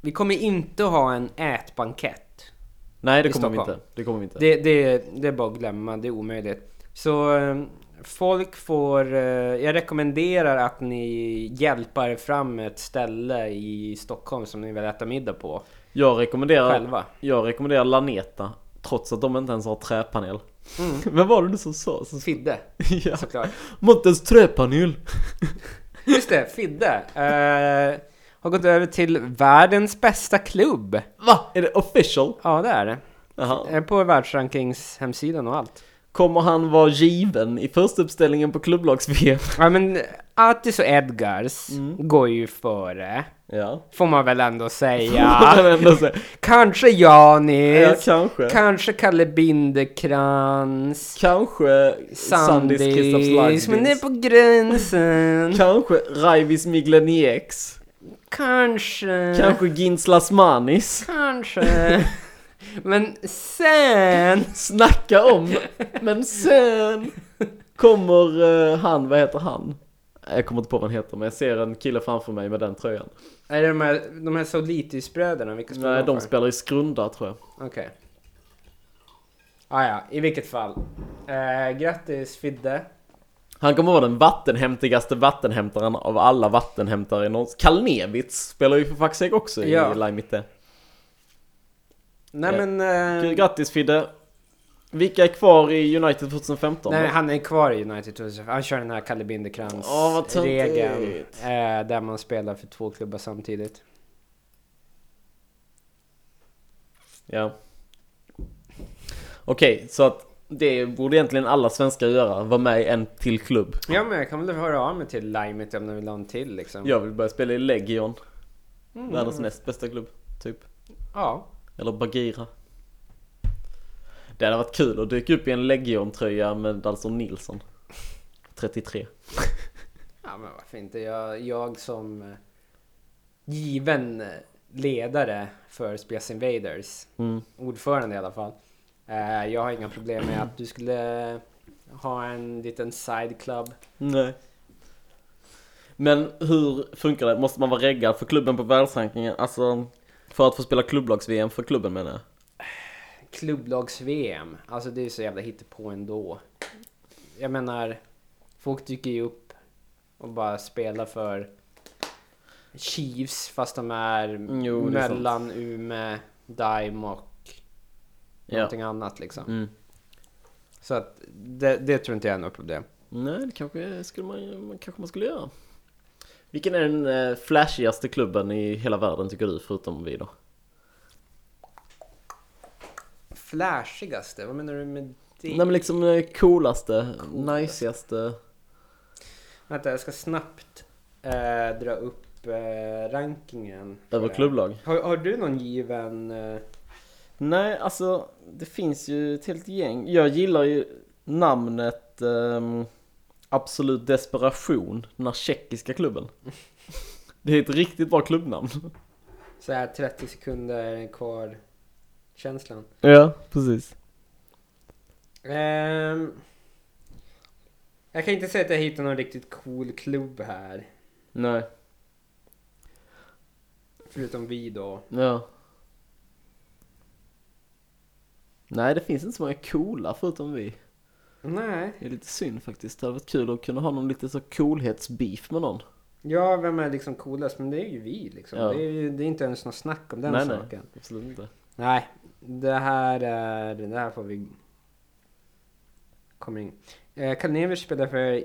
Speaker 2: Vi kommer inte ha en ätbankett.
Speaker 1: Nej, det
Speaker 2: I
Speaker 1: kommer vi
Speaker 2: Stockholm.
Speaker 1: inte. Det kommer vi inte.
Speaker 2: Det, det, det är bara att glömma, det är omöjligt. Så eh, folk får... eh, Jag rekommenderar att ni hjälpar fram ett ställe i Stockholm som ni vill äta middag på.
Speaker 1: Jag rekommenderar,
Speaker 2: Själva.
Speaker 1: jag rekommenderar Laneta, trots att de inte ens har träpanel.
Speaker 2: Mm.
Speaker 1: Vem var det du som sa? Som,
Speaker 2: Fidde,
Speaker 1: ja.
Speaker 2: såklart.
Speaker 1: Montes träpanel!
Speaker 2: Just det, Fidde. Eh, har gått över till världens bästa klubb.
Speaker 1: Va? Är det official?
Speaker 2: Ja, det är det.
Speaker 1: Jaha.
Speaker 2: Eh, På världsrankings hemsidan och allt.
Speaker 1: Kommer han vara given i första uppställningen på klubblags-VM?
Speaker 2: Ja, men Attis och Edgars går ju före.
Speaker 1: Ja.
Speaker 2: Får man väl ändå
Speaker 1: Får man
Speaker 2: säga.
Speaker 1: ändå säga.
Speaker 2: kanske Janis.
Speaker 1: Ja, kanske.
Speaker 2: Kanske Kalle Binderkrans.
Speaker 1: Kanske Sandis
Speaker 2: Sandis. Men det
Speaker 1: Kristaps
Speaker 2: är på gränsen.
Speaker 1: Kanske Raivis Miglenieks.
Speaker 2: Kanske.
Speaker 1: Kanske Ginslas Manis.
Speaker 2: Kanske. Men sen.
Speaker 1: Snacka om, men sen kommer eh, han, vad heter han? Jag kommer inte på vad han heter, men jag ser en kille framför mig med den tröjan.
Speaker 2: Är det de här, de här Solitis-bröderna? Vilka spelar
Speaker 1: Nej, de
Speaker 2: för?
Speaker 1: spelar i Skrunda tror jag.
Speaker 2: Okej. Ah, ja, i vilket fall. Eh, grattis Fidde.
Speaker 1: Han kommer vara den vattenhämtigaste vattenhämtaren av alla vattenhämtare någonsin. Kalnevits spelar ju för fuck's sake också
Speaker 2: Ja.
Speaker 1: i Laimitte.
Speaker 2: Nej
Speaker 1: Ja.
Speaker 2: men... Eh,
Speaker 1: Grattis Fidde! Vilka är kvar i United 2015?
Speaker 2: nej, han är kvar i United 2000. Han kör den här
Speaker 1: Åh,
Speaker 2: Kalle
Speaker 1: vad töntigt.
Speaker 2: Binderkrans-regeln. eh, där man spelar för två klubbar samtidigt.
Speaker 1: Ja. Okej, så att det borde egentligen alla svenskar göra. Vara med i en till klubb.
Speaker 2: Ja men jag kan väl höra av mig till Limet om de vill ha en till liksom.
Speaker 1: Jag vill börja spela i Legion.
Speaker 2: Mm.
Speaker 1: Världens näst bästa klubb, typ.
Speaker 2: Ja.
Speaker 1: Eller Bagira. Det hade varit kul att dyka upp i en Legion-tröja med alltså Nilsson. 33.
Speaker 2: Ja men varför inte? Jag, jag som eh, given eh, ledare för Space Invaders,
Speaker 1: Mm.
Speaker 2: ordförande i alla fall. Eh, jag har inga problem med att du skulle eh, ha en liten side club.
Speaker 1: Nej. Men hur funkar det? Måste man vara reggad för klubben på världsrankingen? Alltså, för att få spela klubblags-VM för klubben menar jag.
Speaker 2: Klubblags-VM, alltså det är ju så jävla hittepå ändå. Jag menar, folk dyker ju upp och bara spelar för Chiefs fast de är
Speaker 1: Jo, det är sant.
Speaker 2: mellan Ume, Dime och
Speaker 1: Ja.
Speaker 2: någonting annat liksom.
Speaker 1: Mm.
Speaker 2: Så att det, det tror inte jag är något problem.
Speaker 1: Nej, det kanske, skulle man, man- kanske man skulle göra. Vilken är den eh, flashigaste klubben i hela världen tycker du, förutom vi då?
Speaker 2: Flashigaste? Vad menar du med det?
Speaker 1: Nej men liksom eh, coolaste, najsigaste,
Speaker 2: Vänta, jag ska snabbt eh, dra upp eh, rankingen.
Speaker 1: Över klubblag?
Speaker 2: Har, har du någon given... Eh,
Speaker 1: Nej, alltså det finns ju ett helt gäng. Jag gillar ju namnet ehm, Absolut Desperation, den här tjeckiska klubben. Det är ett riktigt bra klubbnamn.
Speaker 2: så här 30 sekunder kvar känslan?
Speaker 1: Ja, precis.
Speaker 2: Ehm, jag kan inte säga att jag hittar någon riktigt cool klubb här.
Speaker 1: Nej,
Speaker 2: Förutom vi då.
Speaker 1: ja. Nej, det finns inte så många coola förutom vi.
Speaker 2: Nej.
Speaker 1: Det är lite synd faktiskt. Det hade varit kul att kunna ha någon lite så coolhetsbeef med någon.
Speaker 2: Ja, vem är liksom coolast? Men det är ju vi liksom.
Speaker 1: Ja.
Speaker 2: Det, är ju, det är inte ens något snack om den
Speaker 1: nej,
Speaker 2: saken.
Speaker 1: nej, absolut inte.
Speaker 2: Nej, det här är... Det här får vi... Kommer in. Eh, Karl Nevers spelar för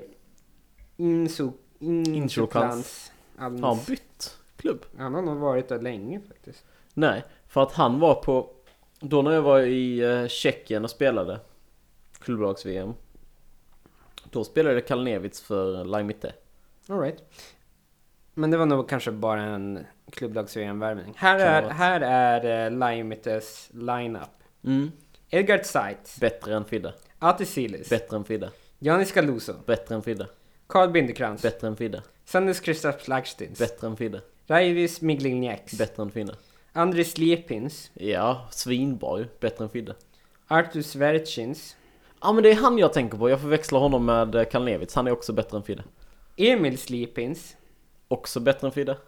Speaker 2: Inso... Insoklans.
Speaker 1: Har han
Speaker 2: Alms-
Speaker 1: bytt klubb?
Speaker 2: Han har nog varit där länge faktiskt.
Speaker 1: Nej, för att han var på... Då när jag var i eh, Tjeckien och spelade klubblags-VM Då spelade Kalnevits för Laimite.
Speaker 2: Alright. Men det var nog kanske bara en klubblags värmning Här
Speaker 1: Kan
Speaker 2: är,
Speaker 1: vara.
Speaker 2: här är eh, Laimetes lineup.
Speaker 1: Mm.
Speaker 2: Edgard Seitz,
Speaker 1: Bättre än Fidde.
Speaker 2: Atisilis,
Speaker 1: Bättre än Fidde.
Speaker 2: Janis Galuso,
Speaker 1: Bättre än Fidde.
Speaker 2: Carl Bindekrans,
Speaker 1: Bättre än Fidde.
Speaker 2: Sanders Kristaps Lagstins,
Speaker 1: Bättre än Fidde.
Speaker 2: Raivis Miglinjaks,
Speaker 1: Bättre än Fidde.
Speaker 2: Andris Lepins,
Speaker 1: Ja, svinbra ju. Bättre än Fidde.
Speaker 2: Artur Sverchins,
Speaker 1: Ja men det är han jag tänker på. Jag förväxlar honom med eh, Kalnevits. Han är också bättre än Fidde.
Speaker 2: Emil Slipins,
Speaker 1: Också bättre än Fidde.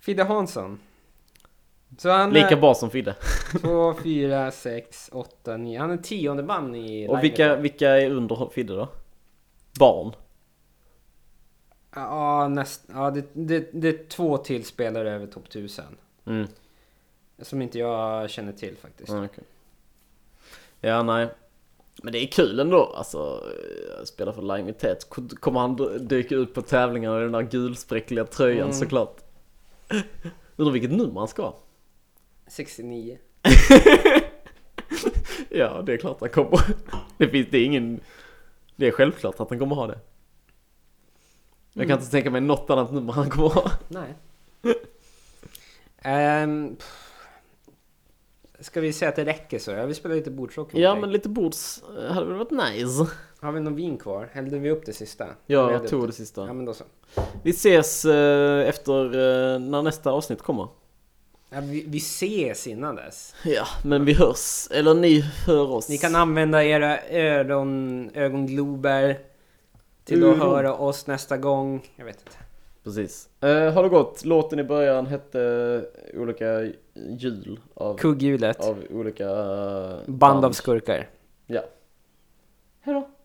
Speaker 2: Fidde Hansson. Så han
Speaker 1: Lika
Speaker 2: är
Speaker 1: bra som Fidde.
Speaker 2: 2, 4, 6, 8, 9. Han är tionde man i
Speaker 1: Och
Speaker 2: livet.
Speaker 1: vilka, vilka är under Fidde då? Barn.
Speaker 2: Ja, näst, ja det, det, det är två till spelare över topp 1000.
Speaker 1: Mm.
Speaker 2: Som inte jag känner till faktiskt.
Speaker 1: Ja, okej. Ja, nej. Men det är kul ändå, alltså. eh, att Spela för Limitet. Kommer han d- dyka ut på tävlingarna i den där gulspräckliga tröjan
Speaker 2: Mm.
Speaker 1: såklart. Undrar vilket nummer han ska ha.
Speaker 2: 69.
Speaker 1: Ja, det är klart han kommer. Det finns, det är ingen... Det är självklart att han kommer ha det. Jag kan inte tänka mig något annat nummer han kommer ha.
Speaker 2: Nej. Ehm, pff. ska vi säga att det räcker så? Jag vill spela lite bordshockey. med
Speaker 1: Ja,
Speaker 2: dig.
Speaker 1: men lite bords eh, hade väl varit nice.
Speaker 2: Har vi någon vin kvar? Hällde vi upp det sista?
Speaker 1: Ja,
Speaker 2: Vi hade
Speaker 1: jag tog
Speaker 2: upp
Speaker 1: det sista.
Speaker 2: Ja, men då så.
Speaker 1: Vi ses eh, efter eh, när nästa avsnitt kommer.
Speaker 2: Ja, vi, vi ses innan dess.
Speaker 1: Ja, men vi hörs. Eller ni hör oss.
Speaker 2: Ni kan använda era öron, ögonglober till att
Speaker 1: Öron.
Speaker 2: höra oss nästa gång. Jag vet inte.
Speaker 1: Precis. Eh, har det gått? Låten i början hette eh, olika jul av,
Speaker 2: Kugghjulet.
Speaker 1: av olika... eh,
Speaker 2: Band av skurkar.
Speaker 1: Ja. Hej då.